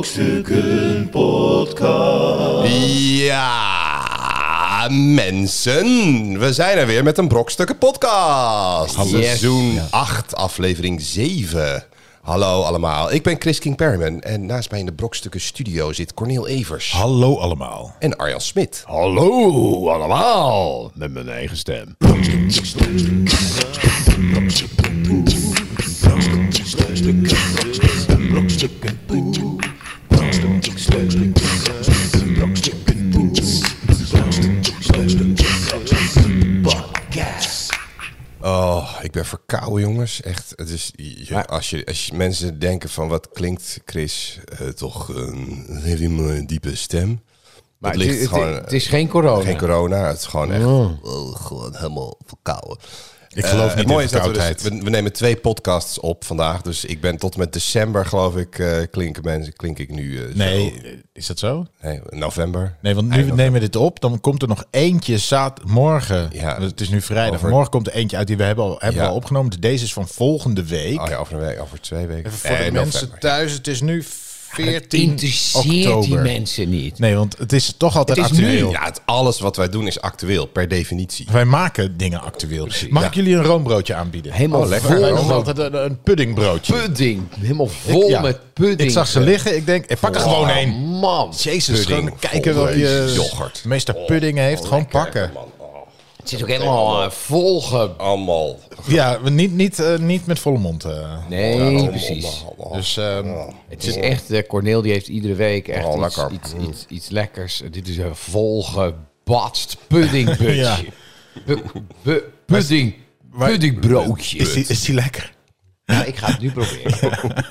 Brokstukken Podcast. Ja, mensen. We zijn er weer met een Brokstukken podcast. Seizoen 8, aflevering 7. Hallo allemaal, ik ben Chris King Perryman en naast mij in de Brokstukken studio zit Corneel Evers Hallo allemaal. en Arjan Smit. Hallo allemaal, met mijn eigen stem. Oh, ik ben verkouden jongens. Echt, het is, je- als, je, als je mensen denken van wat klinkt Chris eh, toch, eh, heeft hij een diepe stem. Maar Dat het, ligt is- gewoon- het, het is geen corona. Geen corona, het is gewoon echt oh, gewoon helemaal verkouden. Mm. Ik geloof Eh, niet het mooie in is dat we, dus- verkoudheid. we, we nemen twee podcasts op vandaag. Dus ik ben tot en met december, geloof ik, eh, klinken mensen, klink ik nu. eh, zo. Nee, eh, is dat zo? Nee, november. Nee, want nu nemen we dit op, dan komt er nog eentje zaad morgen. Ja. Want Het is nu vrijdag. Over- Morgen komt er eentje uit die we hebben al, hebben Ja. we al opgenomen. Dus deze is van volgende week. Oh ja, over een week, over twee weken. Even voor de Eh, mensen november. thuis, het is nu 14 Interesseert die oktober. mensen niet. Nee, want het is toch altijd Het is nu. actueel. Ja, het, alles wat wij doen is actueel, per definitie. Wij maken dingen actueel. Mag ik Ja. jullie een roombroodje aanbieden? Helemaal Oh, lekker. vol Wij noemen met altijd een, een puddingbroodje. pudding. Helemaal vol Ja. met pudding. Ik zag ze liggen. Ik denk, ik pak er gewoon Oh, één. Man, Jezus, Pudding gewoon kijken vol wat je met yoghurt. meester pudding heeft. gewoon pakken. Man, oh, het zit ook helemaal eh, volge... allemaal. Ja, we niet, niet, eh, niet met volle mond. eh. Nee, precies. Dus ehm, Het is echt... eh, Corneel die heeft iedere week echt Oh, iets, lekker. iets, iets, iets lekkers. Dit is een volgebatst puddingbutje. Ja. Bu- bu- pudding... Puddingbroodje. is, die, is die lekker? Nou, ik ga het nu proberen.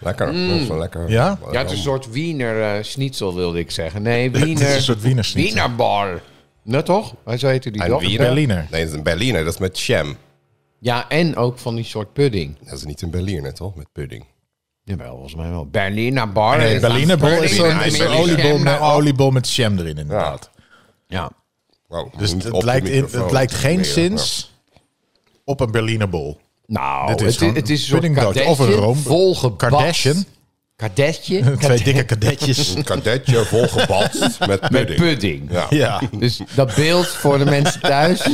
Lekker. Dat is wel lekker. Mm. Ja? Ja, het is een soort wiener eh, schnitzel, wilde ik zeggen. Nee, wiener... Het is een soort Wiener schnitzel. Wienerbar. Net toch? Maar zo heette die En toch? Wiener? Berliner. Nee, dat is een Berliner. Dat is met jam. Ja, en ook van die soort pudding. Dat is niet een Berliner, toch? Met pudding. Jawel, volgens mij wel. Berliner bar. Nee, Berlinerbol is zo'n Berliner, is zo'n Berliner. oliebol met, Nou, oliebol met jam erin inderdaad. Ja. Wow, Dus niet op het de lijkt, in, microfoon. het lijkt geen Nee, ja. zins op een Berlinerbol. Nou, Dit is het, gewoon het is een soort puddingbrood. kardetje. Of een room- volgebast. Kardashian. Kardetje? Twee dikke kadetjes. Een kadetje volgebalst met Met pudding. pudding. Ja. ja. Dus dat beeld voor de mensen thuis.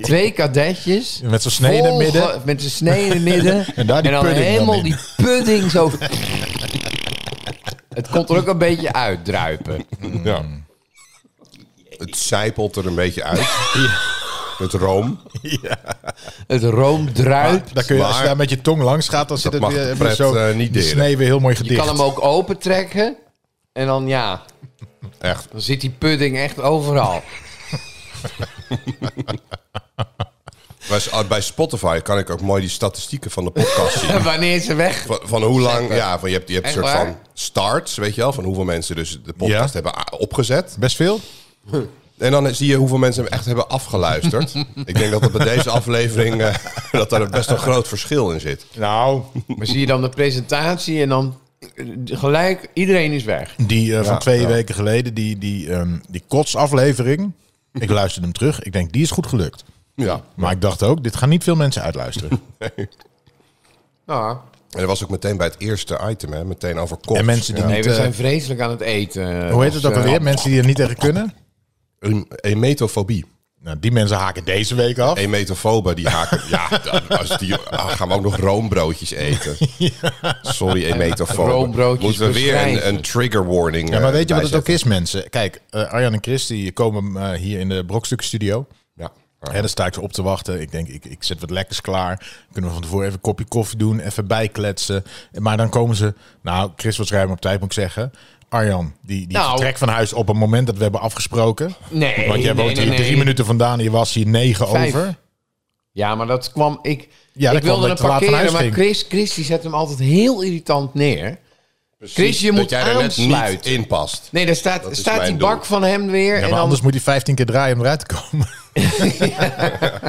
Twee kadetjes. Met zo'n snee in het volge- midden. Met zo'n snee in het midden. En daar die dan pudding dan helemaal in. die pudding zo... het komt er ook een beetje uitdruipen. Ja. Het zijpelt er een beetje uit. Met room. Het room druipt. Daar kun je, als je Maar- daar met je tong langs gaat, dan zit het mag weer de heb je pret, zo eh, niet die delen. snee weer heel mooi Je gedicht. kan hem ook opentrekken. En dan ja, Echt. dan zit die pudding echt overal. Bij, ah, bij Spotify kan ik ook mooi die statistieken van de podcast zien. Wanneer ze weg... Van, van hoe lang, ja, van je hebt, je hebt een Echt soort waar? van starts, weet je wel, van hoeveel mensen dus de podcast Ja. hebben a- opgezet. Best veel? En dan zie je hoeveel mensen hem echt hebben afgeluisterd. ik denk dat er bij deze aflevering, eh, dat daar best een groot verschil in zit. Nou, Maar zie je dan de presentatie en dan eh, gelijk iedereen is weg. Die eh, van twee ja. weken geleden, die, die, ehm, die kotsaflevering. Ik luisterde hem terug. Ik denk, die is goed gelukt. Ja. Maar ik dacht ook, dit gaan niet veel mensen uitluisteren. Nou, En dat was ook meteen bij het eerste item, hè, meteen over kost. en mensen die nee, niet... we eh, zijn vreselijk aan het eten. hoe heet het ook Dus, eh, alweer? Mensen die er niet tegen kunnen? Em- Emetofobie. Nou, die mensen haken deze week af. Emetofoben, die haken... ja, dan- als die, ah, gaan we ook nog roombroodjes eten. Sorry, emetofoben. Roombroodjes Moeten we weer een, beschrijven. een trigger warning eh, Ja, maar weet je wat het ook is, mensen? Kijk, eh, Arjan en Chris die komen eh, hier in de Brokstukken-studio. Ja. Hè, dan sta ik ze op te wachten. Ik denk, ik, ik zet wat lekkers klaar. Kunnen we van tevoren even een kopje koffie doen, even bijkletsen. Maar dan komen ze... Nou, Chris was ruim op tijd, moet ik zeggen. Arjan, die, die Nou. vertrekt van huis op het moment dat we hebben afgesproken. Nee, Want jij nee, woont nee, hier nee. drie minuten vandaan. en Je was hier negen Vijf. over. Ja, maar dat kwam... Ik, Ja, ik dat kwam wilde omdat hem ik te laat van parkeren, huis maar ging. Chris, Chris die zet hem altijd heel irritant neer. Chris, je moet dat jij er net niet aansluiten. in past. Nee, daar staat, Dat is staat mijn die doel. bak van hem weer. Ja, en maar dan anders moet hij 15 keer draaien om eruit te komen. Ja,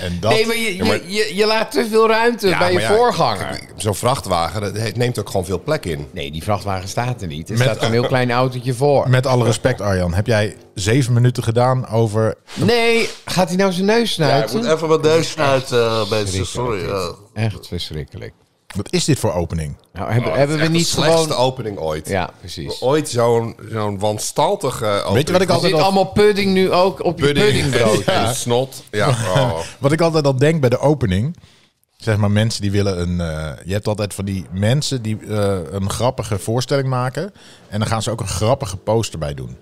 en dat... Nee, maar je, Ja, maar- Je, je, je laat te veel ruimte Ja, bij je maar ja, voorganger. Zo'n vrachtwagen, dat he- neemt ook gewoon veel plek in. Nee, die vrachtwagen staat er niet. Er Met- staat een heel klein autootje voor. Met alle respect, Arjan, heb jij zeven minuten gedaan over. Nee, gaat hij nou zijn neus Ja, ik snuiten? moet even mijn neus snuiten, eh, mensen. Sorry. eh. Echt verschrikkelijk. Wat is dit voor opening? Nou, hebben, hebben Oh, we Echt de niet slechtste gewoon... opening ooit. Ja, precies. Ooit zo'n zo'n wanstaltige opening. Weet je wat ik Er altijd zit al, allemaal pudding nu ook op je Pudding, puddingbrood. en- en snot. Ja, oh. wat ik altijd al denk bij de opening? Zeg maar mensen die willen een. eh, je hebt altijd van die mensen die eh, een grappige voorstelling maken. En dan gaan ze ook een grappige poster bij doen.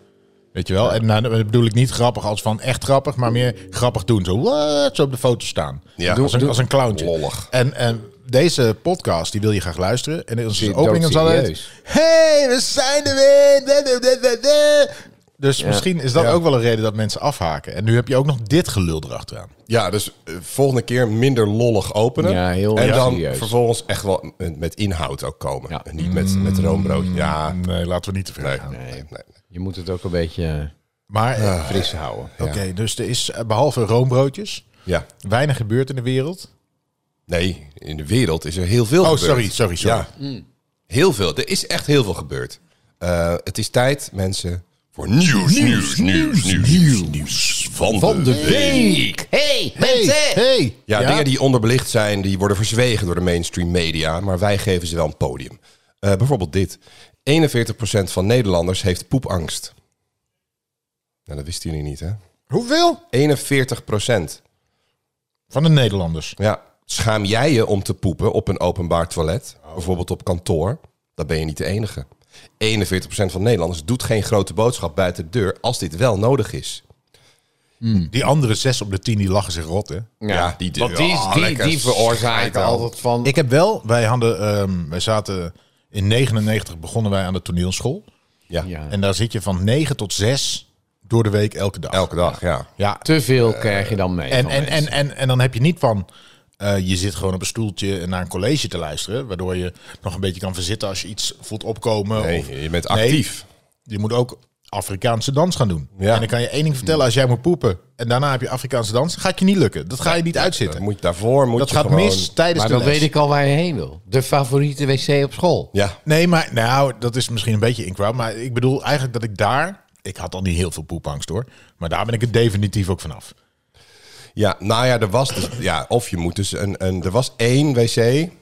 Weet je wel? En nou, dat bedoel ik niet grappig als van echt grappig, maar meer grappig doen. Zo, "What?" zo op de foto staan. Ja. als, een, als een clowntje. Lollig. En, en deze podcast, die wil je graag luisteren. En als de opening is altijd... doodserieus. Hey, we zijn er weer! Da, da, da, da, da. Dus misschien is dat Ja. ook wel een reden dat mensen afhaken. En nu heb je ook nog dit gelul erachteraan. ja, dus eh, volgende keer minder lollig openen. Ja, heel en dan serieus. vervolgens echt wel met- met inhoud ook komen. Ja. En niet met, met roombrood. Ja, nee. Nee, eh, laten we niet te ver gaan. nee, nee. Je moet het ook een beetje Maar, eh, eh, fris houden. oké, dus er is eh, behalve roombroodjes... Ja. weinig gebeurd in de wereld. Nee, in de wereld is er heel veel Oh, gebeurd. sorry, sorry, sorry. Ja. Heel veel. Er is echt heel veel gebeurd. Eh, het is tijd, mensen, voor nieuws, nieuws, nieuws, nieuws, nieuws, van, de, week. Hey, mensen! Hey! Ja, dingen die onderbelicht zijn, die worden verzwegen door de mainstream media, maar wij geven ze wel een podium. Eh, bijvoorbeeld dit. 41% van Nederlanders heeft poepangst. Nou, dat wisten jullie niet, hè? Hoeveel? 41%. Van de Nederlanders. Ja, schaam jij je om te poepen op een openbaar toilet? Bijvoorbeeld op kantoor? Dan ben je niet de enige. 41% van Nederlanders doet geen grote boodschap buiten de deur als dit wel nodig is. Die andere zes op de tien, die lachen zich rot, hè? Ja, die- Want die, oh, die, lekker die veroorzaakt schijtel. altijd van... Ik heb wel, wij hadden, ehm, wij zaten in 99 begonnen wij aan de toneelschool. Ja, Ja. En daar zit je van 9 tot 6 door de week elke dag. elke dag, ja. Ja, te veel krijg je dan mee. en, van en, en, mensen. en, en dan heb je niet van, eh, je zit gewoon op een stoeltje naar een college te luisteren, waardoor je nog een beetje kan verzitten als je iets voelt opkomen. of, Nee, je bent Nee, actief. je moet ook Afrikaanse dans gaan doen. Ja. En dan kan je één ding vertellen, als jij moet poepen en daarna heb je Afrikaanse dans, gaat je niet lukken. Dat ga je niet Dan uitzitten. moet je daarvoor moet Dat je gaat gewoon... mis tijdens maar de dan les. weet ik al waar je heen wil. De favoriete wc op school. Ja, Nee, maar nou, dat is misschien een beetje inkwam. Maar ik bedoel eigenlijk dat ik daar... Ik had al niet heel veel poepangst hoor. Maar daar ben ik het definitief ook vanaf. ja, nou ja, er was dus... Ja, of je moet dus een... een er was één wc. Nee,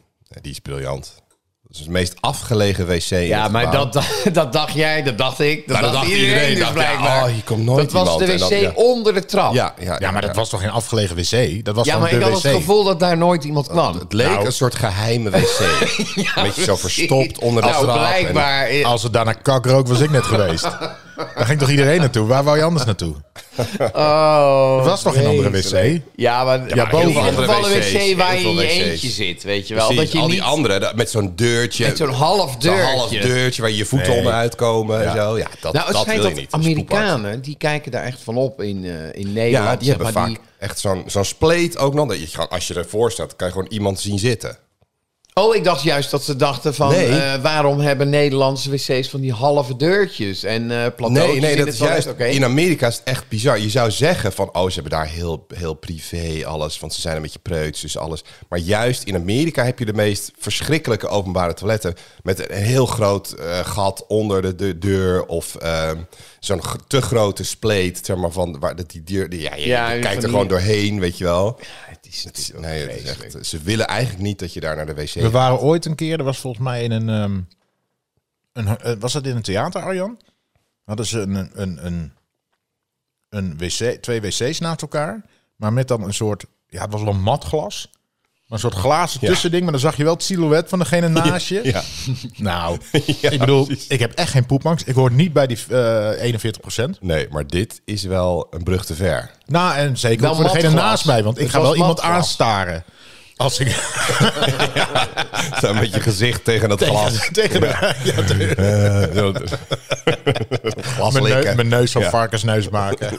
die is briljant. Dat is het meest afgelegen wc in Ja, het maar gebouw. dat, dat, dacht jij, dat dacht ik, dat, Maar dat dacht, dacht iedereen, iedereen, dus dacht, ja, blijkbaar. oh, hier komt nooit dat was iemand de en wc dan- ja. onder de trap. Ja, ja, Ja, maar dat was toch geen afgelegen wc? Dat was Ja, gewoon maar de ik wc. had het gevoel dat daar nooit iemand kwam. Het leek een soort geheime wc. Een beetje zo verstopt onder de nou, trap. en- blijkbaar. eh, Als het daarna kakrook was ik net geweest. Daar ging toch iedereen naartoe? Waar wou je anders naartoe? Oh, Er was toch geen andere wc? Ja, maar, maar in heel ieder veel geval andere een wc's, heel wc waar je veel in je wc's. eentje zit, weet je wel. Precies, dat je al niet die anderen, dat- met zo'n deurtje. met zo'n half Eh, Zo'n deurtje. half deurtje waar je je voeten Nee. onderuit komen en zo. Ja, dat, Nou, dat het wil schijnt je dat niet. Dat is poepangst. Amerikanen, die kijken daar echt van op in, eh, in Nederland. Ja, die zeg hebben maar, vaak echt zo'n zo'n spleet ook nog. Dat je, gewoon- als je ervoor staat, kan je gewoon iemand zien zitten. Oh, ik dacht juist dat ze dachten van... Nee. eh, waarom hebben Nederlandse wc's van die halve deurtjes en eh plateautjes Nee, nee, in dat het is juist. toilet? Oké. In Amerika is het echt bizar. Je zou zeggen van, oh, ze hebben daar heel, heel privé alles, want ze zijn een beetje preuts, dus alles. Maar juist in Amerika heb je de meest verschrikkelijke openbare toiletten met een heel groot eh, gat onder de, de deur of ehm, zo'n g- te grote spleet, zeg maar, van waar dat die deur, die- ja, je, Ja, je van kijkt er die- gewoon doorheen, weet je wel. Het is Het is- natuurlijk Nee, ook het is vreselijk. echt, ze willen eigenlijk niet dat je daar naar de wc We waren ooit een keer, er was volgens mij in een. ehm, een eh, was dat in een theater, Arjan? Hadden ze een, een, een, een, een wc, twee wc's naast elkaar, maar met dan een soort. Ja, het was wel matglas. Maar een soort glazen Ja. tussending, maar dan zag je wel het silhouet van degene naast je. Ja. Nou, ik bedoel, ik heb echt geen poepangst. Ik hoor niet bij die eh 41%. Nee, maar dit is wel een brug te ver. Nou, en zeker Wel ook voor degene matglas. naast mij, want ik Het ga was wel iemand matglas. aanstaren. Als ik Zo met je gezicht tegen het glas. tegen de, ja, tegen- glas mijn, neu- likken. mijn neus van Ja. varkensneus maken.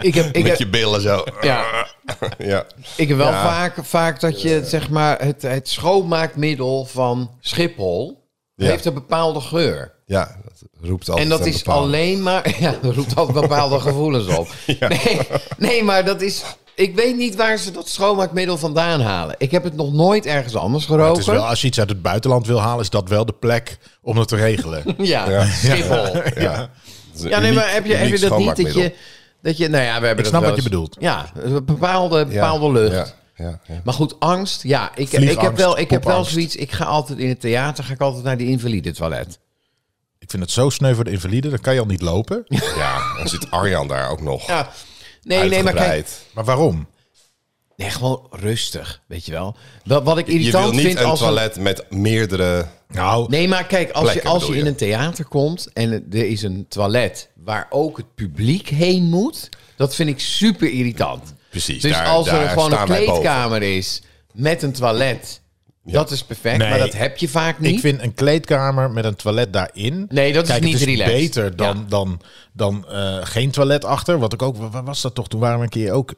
Ik heb, ik Met heb, je billen zo. ja, Ja. ik heb wel Ja. Eh. vaak, vaak dat je zeg maar, het, het schoonmaakmiddel van Schiphol... Ja. heeft een bepaalde geur. ja, dat roept altijd En dat een is bepaalde- alleen maar. Ja, dat roept altijd bepaalde gevoelens op. Nee, nee, maar dat is. Ik weet niet waar ze dat schoonmaakmiddel vandaan halen. Ik heb het nog nooit ergens anders Het is geroken. wel, als je iets uit het buitenland wil halen, is dat wel de plek om dat te regelen. Ja, Schiphol. Ja, Ja, nee, maar heb je, heb je dat niet dat je. Dat je, nou ja, we hebben Ik snap dat wel wat je eens- bedoelt. Ja, een bepaalde, bepaalde lucht. ja. ja, ja. Maar goed, angst. Ja, ik, ik, Vliegangst, heb, wel, ik heb wel popangst. zoiets. Ik ga altijd in het theater, ga ik altijd naar die invalide toilet. Ik vind het zo sneu voor de invalide, dan kan je al niet lopen. Ja, dan zit Arjan daar ook nog. Ja. Nee, nee, maar kijk. uitgebreid. Maar waarom? Nee, gewoon rustig, weet je wel. Wat, wat ik Je irritant wil niet vind een als... een- toilet met meerdere... Nou, Nee, maar kijk, als je, Plekken als je bedoel in je. een theater komt en er is een toilet waar ook het publiek heen moet, dat vind ik super irritant. Precies, Dus daar- als er daar gewoon een staan wij boven. kleedkamer is met een toilet, dat is perfect, Nee. maar dat heb je vaak niet. ik vind een kleedkamer met een toilet daarin. Nee, dat is Kijk, niet het is relaxed. beter dan, Ja. dan, dan eh, geen toilet achter. Wat ik ook, wa- waar was dat toch? Toen waren we een keer ook,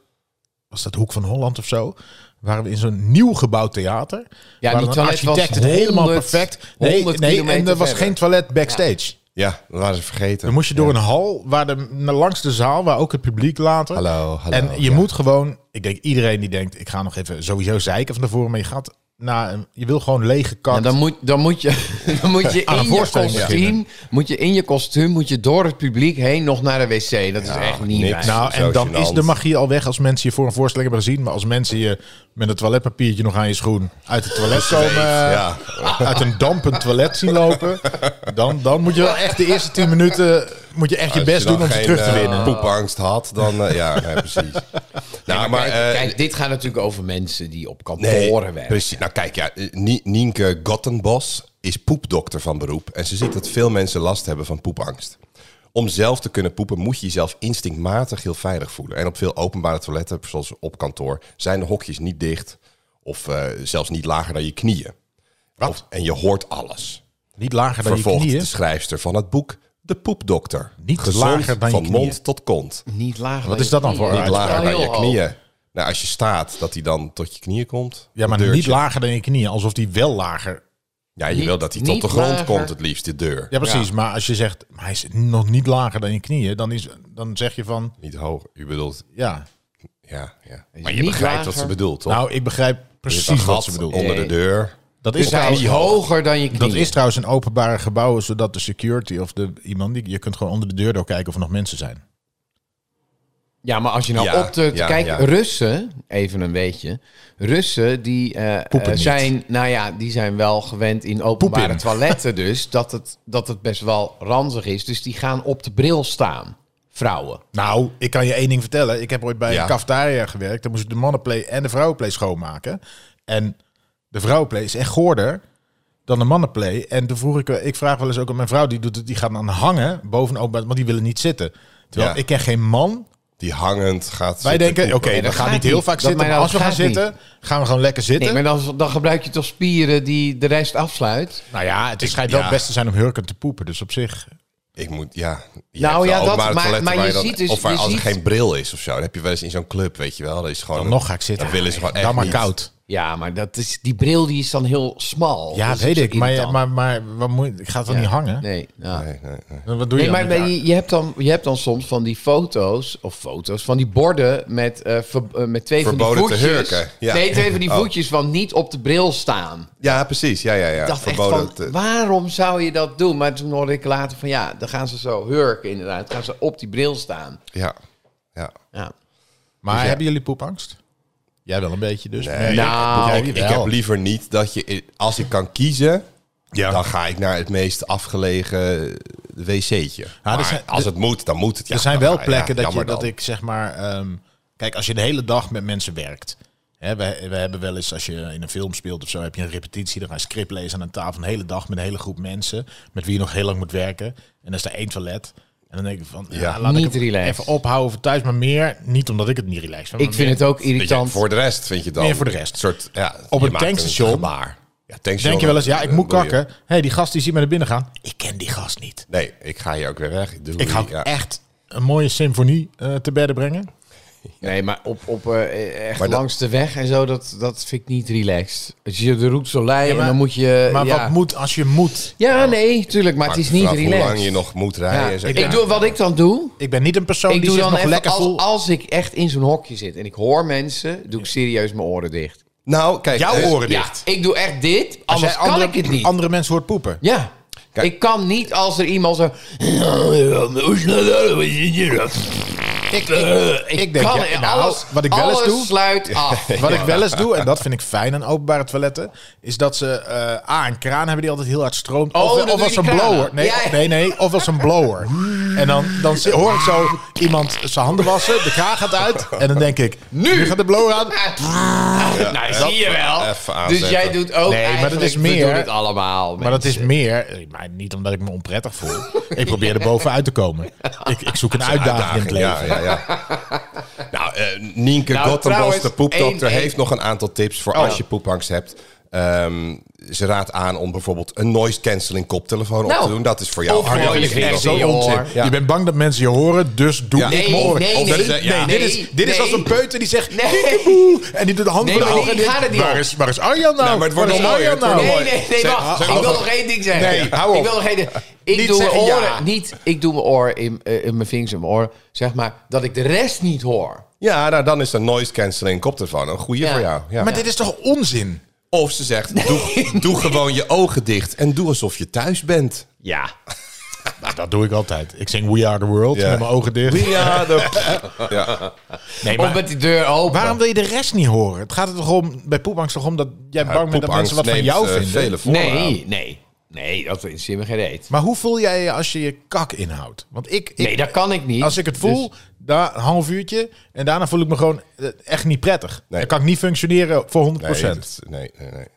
was dat Hoek van Holland of zo? Waren we in zo'n nieuw gebouwd theater? die waar een toilet architect was het helemaal 100 perfect. Nee, 100 nee en kilometer er was verder. geen toilet backstage. Ja, dat waren ze vergeten. Dan moest je door een hal waar de, naar langs de zaal, waar ook het publiek later. Hallo, hallo, En je ja. moet gewoon, ik denk iedereen die denkt, ik ga nog even sowieso zeiken van tevoren, maar je gaat naar, een- je wil gewoon lege kant. En Nou, dan moet, dan moet je, dan moet je Aan een in je voorstelling kostuum, beginnen. moet je in je kostuum, moet je door het publiek heen nog naar de wc. Dat is echt niet niks. fijn. Nou, Zo en dan gênant. is de magie al weg als mensen je voor een voorstelling hebben gezien. Maar als mensen je met een toiletpapiertje nog aan je schoen uit het toilet komen. eh, ja. Uit een dampend toilet zien lopen. Dan, dan moet je wel echt de eerste 10 minuten. Moet je echt je Als best dan doen om ze geen, terug te eh, winnen. poepangst had, dan... eh, ja, nee, precies. Nou, maar... kijk, eh, kijk, dit gaat natuurlijk over mensen die op Nee, kantoren werken. precies. Nou kijk, ja, eh, Nie- Nienke Gottenbos is poepdokter van beroep. En ze ziet dat veel mensen last hebben van poepangst. Om zelf te kunnen poepen moet je jezelf instinctmatig heel veilig voelen. En op veel openbare toiletten, zoals op kantoor, zijn de hokjes niet dicht. Of eh, zelfs niet lager dan je knieën. Of- en je hoort alles. Niet lager dan Vervolgt je de knieën. schrijfster van het boek De Poepdokter. Niet Gezond lager dan je van knieën. mond tot kont. Niet lager. Wat is dat dan voor Niet uitspraak? lager dan je Heel hoog. knieën. Nou, als je staat, dat hij dan tot je knieën komt. Ja, maar Een niet deurtje. lager dan je knieën. Alsof die wel lager. Ja, je Niet- wil dat hij niet tot de grond lager. komt, het liefst, de deur. Ja, precies. Maar als je zegt, maar hij is nog niet lager dan je knieën. Dan, is, dan zeg je van, Niet hoog. U bedoelt, ja. ja. ja. is Maar je niet begrijpt lager. wat ze bedoelt, toch? Nou, ik begrijp Er zit precies een wat gat ze bedoelt. Onder de Nee. deur. Dat Dus is hij trouwens is hoger dan je knieën. Dat is trouwens in openbare gebouwen, zodat de security of de iemand die je kunt gewoon onder de deur door kijken of er nog mensen zijn. Ja, maar als je nou Ja, op de... ja, kijk, ja. Russen, even een beetje. Russen, die eh, Poepen eh, niet. zijn... Nou ja, die zijn wel gewend in openbare Poep in. toiletten dus... Dat het, dat het best wel ranzig is. Dus die gaan op de bril staan. Vrouwen. Nou, ik kan je één ding vertellen. Ik heb ooit bij Ja. een cafetaria gewerkt. Daar moest ik de mannenplay en de vrouwenplay schoonmaken. En de vrouwenplay is echt goorder dan de mannenplay. En toen vroeg ik, eh, ik vraag wel eens ook aan mijn vrouw, die doet het, die gaat dan hangen boven openbaar, want die willen niet zitten. Terwijl Ja. ik ken geen man. Die hangend gaat Wij zitten denken, oké, poepen. Nee, we dat gaan gaat niet heel niet. vaak Dat- zitten, maar maar als we dat gaan gaat niet. zitten, gaan we gewoon lekker zitten. Nee, maar dan, dan gebruik je toch spieren die de rest afsluit? Nou ja, het is- schijnt wel ja. het beste te zijn om hurken te poepen, dus op zich. Ik moet, ja. Je Nou hebt wel ja, dat- openbare maar- toiletten maar waar je dan- ziet dus- Of waar je als er ziet- geen bril is of zo. Dan heb je wel eens in zo'n club, weet je wel. Dat is gewoon Dan een- nog ga ik zitten. Dan willen ze gewoon echt Dan maar niet. koud. Ja, maar dat is, die bril die is dan heel smal. Ja, Dat dat is weet dus ik. zo Maar, irritant. maar, maar wat moet, je- ik ga het dan niet hangen. Nee, nou. ja. Nee, nee, nee. Wat doe je Nee, maar dan? maar je, je hebt dan, je hebt dan soms van die foto's, of foto's, van die borden met, eh, ver- eh, met twee Verboden van die te voetjes. hurken, ja. Nee, twee van die Oh. voetjes van niet op de bril staan. Ja, precies. Ja, ja, ja. Ik dacht echt Verboden van, te- waarom zou je dat doen? Maar toen hoorde ik later van, ja, dan gaan ze zo hurken inderdaad. Dan gaan ze op die bril staan. Ja, ja. Ja. Maar hebben jullie poepangst? Jij wel een beetje dus. Nee, Nou, ik, ik, jawel. heb liever niet dat je, als ik kan kiezen, dan ga ik naar het meest afgelegen wc'tje. er maar zijn- als er- het moet, dan moet het. Ja, er zijn dan wel ga- plekken dat, ja, je, jammer dat dan. ik zeg maar... ehm, kijk, als je de hele dag met mensen werkt... Hè, we, we hebben wel eens, als je in een film speelt of zo, heb je een repetitie. Dan ga je script lezen aan een tafel een hele dag met een hele groep mensen. Met wie je nog heel lang moet werken. En dan is er één toilet. En dan denk ik van, ja, laat Niet ik het relaxed. even ophouden voor thuis. Maar meer, niet omdat ik het niet relaxed vind. Ik maar vind meer- het ook Weet je, irritant. Hm. voor de rest vind je dan. Nee, voor de rest. Een soort, ja, Op je een maakt tankstation. gebaar. Ja, tankstation. Denk je wel eens, ja, ik eh, moet bedoel je- kakken. Hé, hey, die gast die ziet me naar binnen gaan. Ik ken die gast niet. Nee, ik ga hier ook weer weg. Doei, Ik ga ook ja. echt een mooie symfonie eh, te bedden brengen. Nee, maar op, op eh, echt Maar dat- langs de weg en zo, dat, dat vind ik niet relaxed. Als je de route zo leidt, Ja, maar- dan moet je... Maar Eh, ja. wat moet als je moet? Ja, nee, tuurlijk, maar het is niet Vanaf relaxed. Hoe lang je nog moet rijden. Ja, en zo. ik Ja. doe wat ik dan doe. Ik ben niet een persoon ik die doe zich dan nog even lekker als, voelt. als ik echt in zo'n hokje zit en ik hoor mensen, doe ik serieus mijn oren dicht. Nou, kijk. Jouw eh, oren Ja, dicht. ik doe echt dit, Als anders jij andere, kan ik het niet. Andere mensen hoort poepen. Ja. Kijk. Ik kan niet als er iemand zo... ik, kan ja, en nou, alles, wat ik wel eens alles doe- sluit af. Wat ik wel eens doe, en dat vind ik fijn aan openbare toiletten, is dat ze eh A, een kraan hebben die altijd heel hard stroomt. Oh, of dan of doe je als die een kraan blower. aan. Nee, Ja, ja. nee, nee, of als een blower. En dan, dan zi- hoor ik zo iemand zijn handen wassen, de kraan gaat uit. En dan denk ik, nu, gaat de blower aan. nou, zie je Even wel. aanzetten. Dus jij doet ook Nee, maar dat eigenlijk, is we meer- doen het allemaal. Maar dat mensen. is meer, eh, maar niet omdat ik me onprettig voel. Ik probeer er bovenuit te komen. Ik, ik zoek een uitdaging in het leven. Ja, ja, ja. nou, eh, Nienke Nou, Gottenbos, trouwens, de poepdokter, één- één- heeft nog een aantal tips voor als je poepangst hebt. Ehm, ze raadt aan om bijvoorbeeld een noise cancelling koptelefoon op Nou, te doen. Dat is voor jou. of gewoon Arjan, je dat vind ik vingers wel in zo je onzin. oor. Ja. Je bent bang dat mensen je horen, dus doe Ja. ik Nee, mijn oren. nee, Of dat nee, is- nee, dit is, nee. dit is als een peuter die zegt, Nee. "Kikkeboe," en die doet de hand Nee, voor de maar ogen en die denkt, gaat er niet waar op. is, waar is Arjan nou? Nee, maar het wordt Waar is nog mooier, Arjan het wordt nou? nog Nee, mooi. nee, nee, Zeg- wacht. zeg ik nog wil wat. nog één ding zeggen. Nee, hou op. Ik wil nog één ding. Ik Niet doe mijn zeggen oren ja. niet. Ik doe mijn oor in, eh, in mijn vingers in mijn oor. Zeg maar dat ik de rest niet hoor. Ja, nou dan is een noise cancelling koptelefoon een goede Ja. voor jou. Ja. Maar dit is toch onzin? Of ze zegt, doe, doe gewoon je ogen dicht en doe alsof je thuis bent. Ja. Nou, dat doe ik altijd. Ik zing We Are The World Ja. met mijn ogen dicht. Ja, de- ja. Nee, Of met die deur open. waarom wil je de rest niet horen? Het gaat er toch om, bij poepangst toch om dat jij bang bent dat Poepangst mensen wat van neemt, jou eh, vinden? vele vormen aan. Nee, nee. Nee, dat is me geen reet. Maar hoe voel jij je als je je kak inhoudt? Want ik, ik Nee, dat kan ik niet. als ik het voel, Dus- daar een half uurtje en daarna voel ik me gewoon eh, echt niet prettig. Nee. Dan kan ik niet functioneren voor 100%. Nee, dat- nee, nee, nee. Dat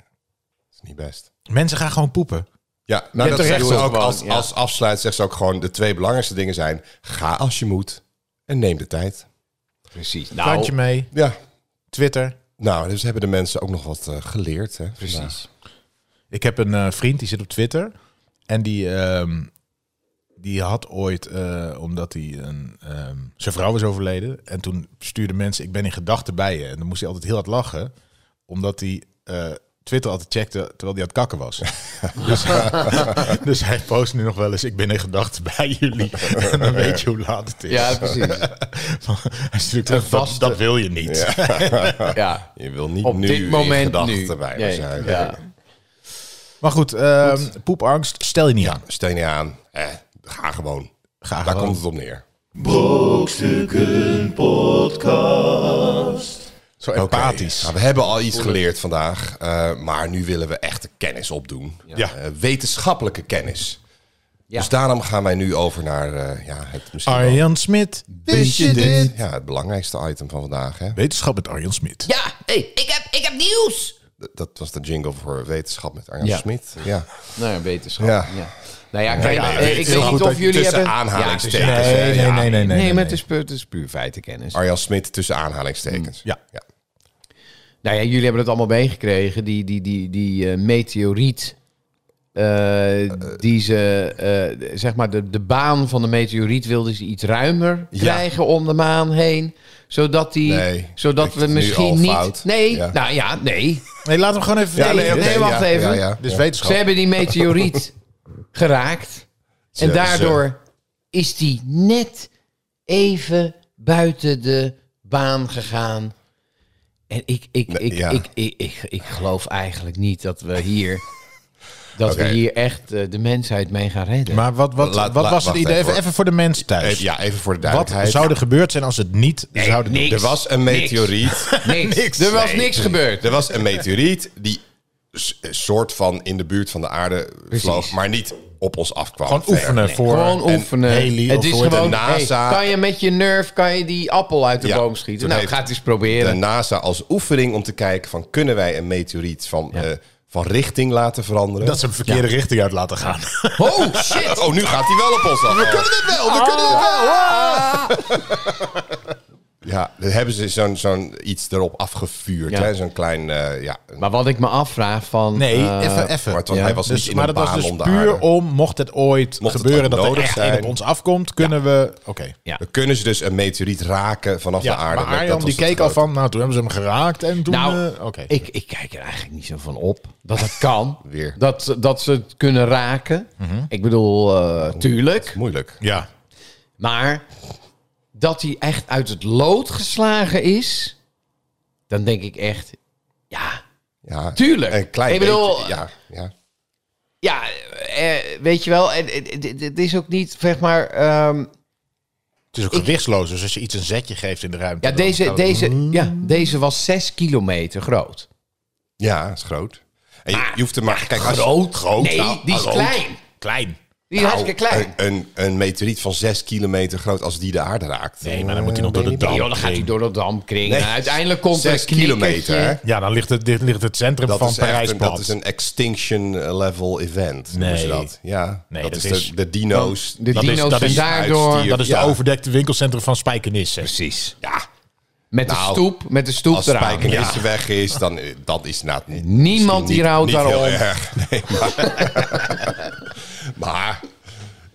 is niet best. Mensen gaan gewoon poepen. Ja, nou, Je dat hebt er zegt recht ze op ook gewoon, als, ja. als afsluit. Zegt ze ook gewoon: de twee belangrijkste dingen zijn: ga als je moet en neem de tijd. Dus- Precies. Plantje Nou, mee, Ja, Twitter. nou, dus hebben de mensen ook nog wat eh, geleerd. Hè, vandaag. precies. Ik heb een eh, vriend die zit op Twitter. En die, ehm, die had ooit, eh, omdat hij een, ehm, zijn vrouw was overleden. En toen stuurden mensen, ik ben in gedachten bij je. En dan moest hij altijd heel hard lachen. Omdat hij eh, Twitter altijd checkte terwijl hij aan het kakken was. dus, dus hij post nu nog wel eens, ik ben in gedachten bij jullie. en dan weet je hoe laat het is. Ja, precies. hij stuurt terug, dat, vaste- dat wil je niet. Ja. Je wil niet Op nu dit moment in gedachten nu. bij me Nee, zijn. ja. Maar goed, ehm, poepangst, stel je niet aan. Steun je aan. Eh, ga gewoon. Ga Daar gewoon. komt het op neer. Brokstukken Podcast. Zo Oké. empathisch. Nou, we hebben al iets geleerd vandaag, eh, maar nu willen we echte kennis opdoen. Ja. Eh, wetenschappelijke kennis. Ja. Dus daarom gaan wij nu over naar eh, ja, het misschien wel- Arjan Smit, wist je dit? Ja, het belangrijkste item van vandaag. Hè? Wetenschap met Arjan Smit. Ja, hey, ik, heb, ik heb nieuws. D- Dat was de jingle voor wetenschap met Arjan Ja. Smit. Ja. Nou ja, wetenschap. Ja. Ja. Nou ja, kijk, ja, eh, het is ik heel weet goed niet dat of je jullie tussen hebben... aanhalingstekens. Ja, het is- Nee, nee, nee, nee, nee, nee, nee, nee. maar het is, puur, het is puur feitenkennis. Arjan Smit tussen aanhalingstekens. Ja. ja. Nou ja, jullie hebben het allemaal meegekregen. Die, die, die, die eh, meteoriet. eh, die ze, eh, zeg maar, de, de baan van de meteoriet wilden ze iets ruimer Ja. krijgen om de maan heen. Zodat, die, Nee, zodat ik we vind het nu al misschien niet. fout. Nee, Ja. nou ja, nee. Nee, Dus laten we gewoon even Ja, nee, dit oké, nee, wacht ja, even. ja, ja. is Ze wetenschap. hebben die meteoriet geraakt. Ze- en daardoor is die net even buiten de baan gegaan. En ik, ik, Nee, ik, ja. ik, ik, ik, ik geloof eigenlijk niet dat we hier, dat Oké. we hier echt eh, de mensheid mee gaan redden. Maar wat, wat, Laat- wat laat- was het wacht idee? even, Even, hoor. even voor de mensen thuis. Even, ja, even voor de Wat duidelijkheid. zou er gebeurd zijn als ze het niet zouden doen? niks. Er was een Niks. meteoriet. niks. Er was niks gebeurd. Er was een meteoriet die s- soort van in de buurt van de aarde vloog, maar niet op ons afkwam. Gewoon Ver. oefenen voor... Gewoon oefenen. Haley het of is hoe heet gewoon, het? NASA. hey, kan je met je nerve kan je die appel uit de Ja, boom schieten? toen Nou, heeft gaat eens proberen. de NASA als oefening om te kijken van kunnen wij een meteoriet van, eh, van richting laten veranderen. Dat ze hem verkeerde richting uit laten gaan. Oh, shit! Ah. Oh, nu gaat hij wel op ons af. We kunnen dit wel, we kunnen dit wel. Ah. Ja, daar hebben ze zo'n zo'n iets erop afgevuurd. Ja. hè? Zo'n klein, eh, ja. een- Maar wat ik me afvraag van... Nee, eh, even, even. maar het was- hij was Dus- niet in maar een dat was baan dus om de puur aarde. om, mocht het ooit Mocht het gebeuren ooit dat er nodig echt zijn. een op ons afkomt, kunnen we... Oké. ja. Dan kunnen ze dus een meteoriet raken vanaf Ja, de aarde. maar Dat- dat Arjan was die het keek al grote. van, nou toen hebben ze hem geraakt en toen... Nou, eh, oké. ik, ik kijk er eigenlijk niet zo van op. Dat het kan. Weer. Dat, ze- dat ze het kunnen raken. Mhm. Ik bedoel, eh, tuurlijk. Moeilijk. Ja. Maar dat hij echt uit het lood geslagen is... Dan denk ik echt... Ja, Ja. Tuurlijk. Een klein Ik bedoel- beetje- Ja, ja. ja eh, weet je wel. En, eh, dit- dit is ook niet, zeg maar... ehm, Het is ook gewichtsloos, dus als je iets een zetje geeft in de ruimte... Ja, dan deze, gaat het- deze, ja, deze was 6 kilometer groot. Ja, is groot. En je, je hoeft er maar... Kijk, als je- groot. Nee, nou, eh, die is groot. klein. Klein. Die is hartstikke klein. Een, een, een meteoriet van 6 kilometer groot, als die de aarde raakt. Nee, maar dan moet hij nog door de Nee, dam. joh, dan gaat hij door de dampkring. Nee, En uiteindelijk komt er een Zes kilometer. hè? knikkertje. Ja, dan ligt het, ligt het centrum Dat van is, Parijs echt een, plat. dat is een extinction eh, level event. Nee. Nee. dat. Ja, Nee, dat, dat is, is- de, de dino's. De Dat is- dino's dat zijn is- daardoor... uitstier. Dat is Ja. de overdekte winkelcentrum van Spijkenisse. Precies. ja, Met de Nou, stoep, met de stoep als eraan. Spijkenisse weg is, dan eh, dat is na niet, Niemand die rouwt niet heel daarom. erg. Nee, maar, maar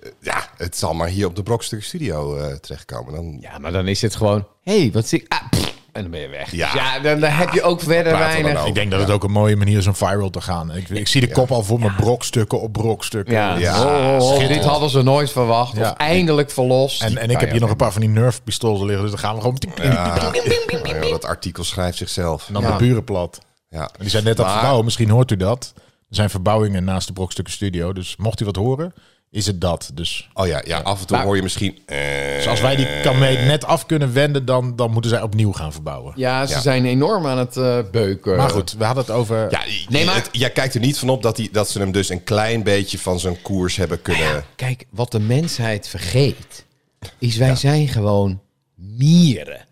eh, ja, het zal maar hier op de Brokstuk Studio eh, terechtkomen. Dan Ja, maar dan is het gewoon... Hé, hey, wat zie ik? Ah, pff, en dan ben je weg. Ja. Ja, dan, dan heb je ook verder praten we dan weinig... over? Ik denk dat het ook een mooie manier is om viral te gaan. Ik, ik zie de kop al voor me brokstukken op brokstukken. Ja, Ja. Ho, ho, ho, Schitterend. dit hadden ze nooit verwacht. Ja. Of eindelijk verlost. Nou En, en ik heb hier nog een paar van die Nerf pistolen liggen, dus dan gaan we gewoon... Nou ja, dat artikel schrijft zichzelf. En dan de buren plat. Ja. En die zijn net aan het Maar- verbouwen, misschien hoort u dat. Er zijn verbouwingen naast de brokstukken studio, dus mocht u wat horen, is het dat. Dus, Oh ja, ja, af en toe hoor je misschien... eh, dus als wij die kamee net af kunnen wenden, dan, dan moeten zij opnieuw gaan verbouwen. Ja, ze Ja. zijn enorm aan het eh, beuken. Maar goed, we hadden het over... Ja, je- Nee, maar- het- jij kijkt er niet van op dat, die, dat ze hem dus een klein beetje van zo'n koers hebben kunnen... Kijk, wat de mensheid vergeet, is wij zijn gewoon mieren.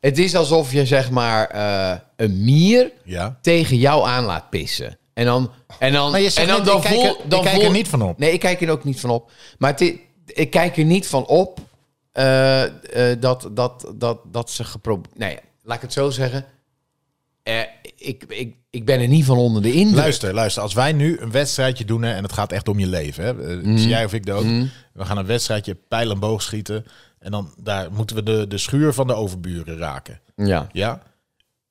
Het is alsof je zeg maar eh, een mier Ja. tegen jou aan laat pissen. En dan, en dan, Maar je zegt en dan, net, dan ik kijk er- voel- ik dan kijk er voel- niet van op. Nee, ik kijk er ook niet van op. Maar het i- ik kijk er niet van op eh, eh, dat, dat, dat, dat ze geprobeerd. Nee, laat ik het zo zeggen. Eh, ik, ik, ik ben er niet van onder de indruk. Luister, luister. Als wij nu een wedstrijdje doen hè, en het gaat echt om je leven. Hè, eh, Mhm. zie jij of ik dood. We gaan een wedstrijdje pijl en boog schieten. En dan daar moeten we de, de schuur van de overburen raken. Ja. Ja?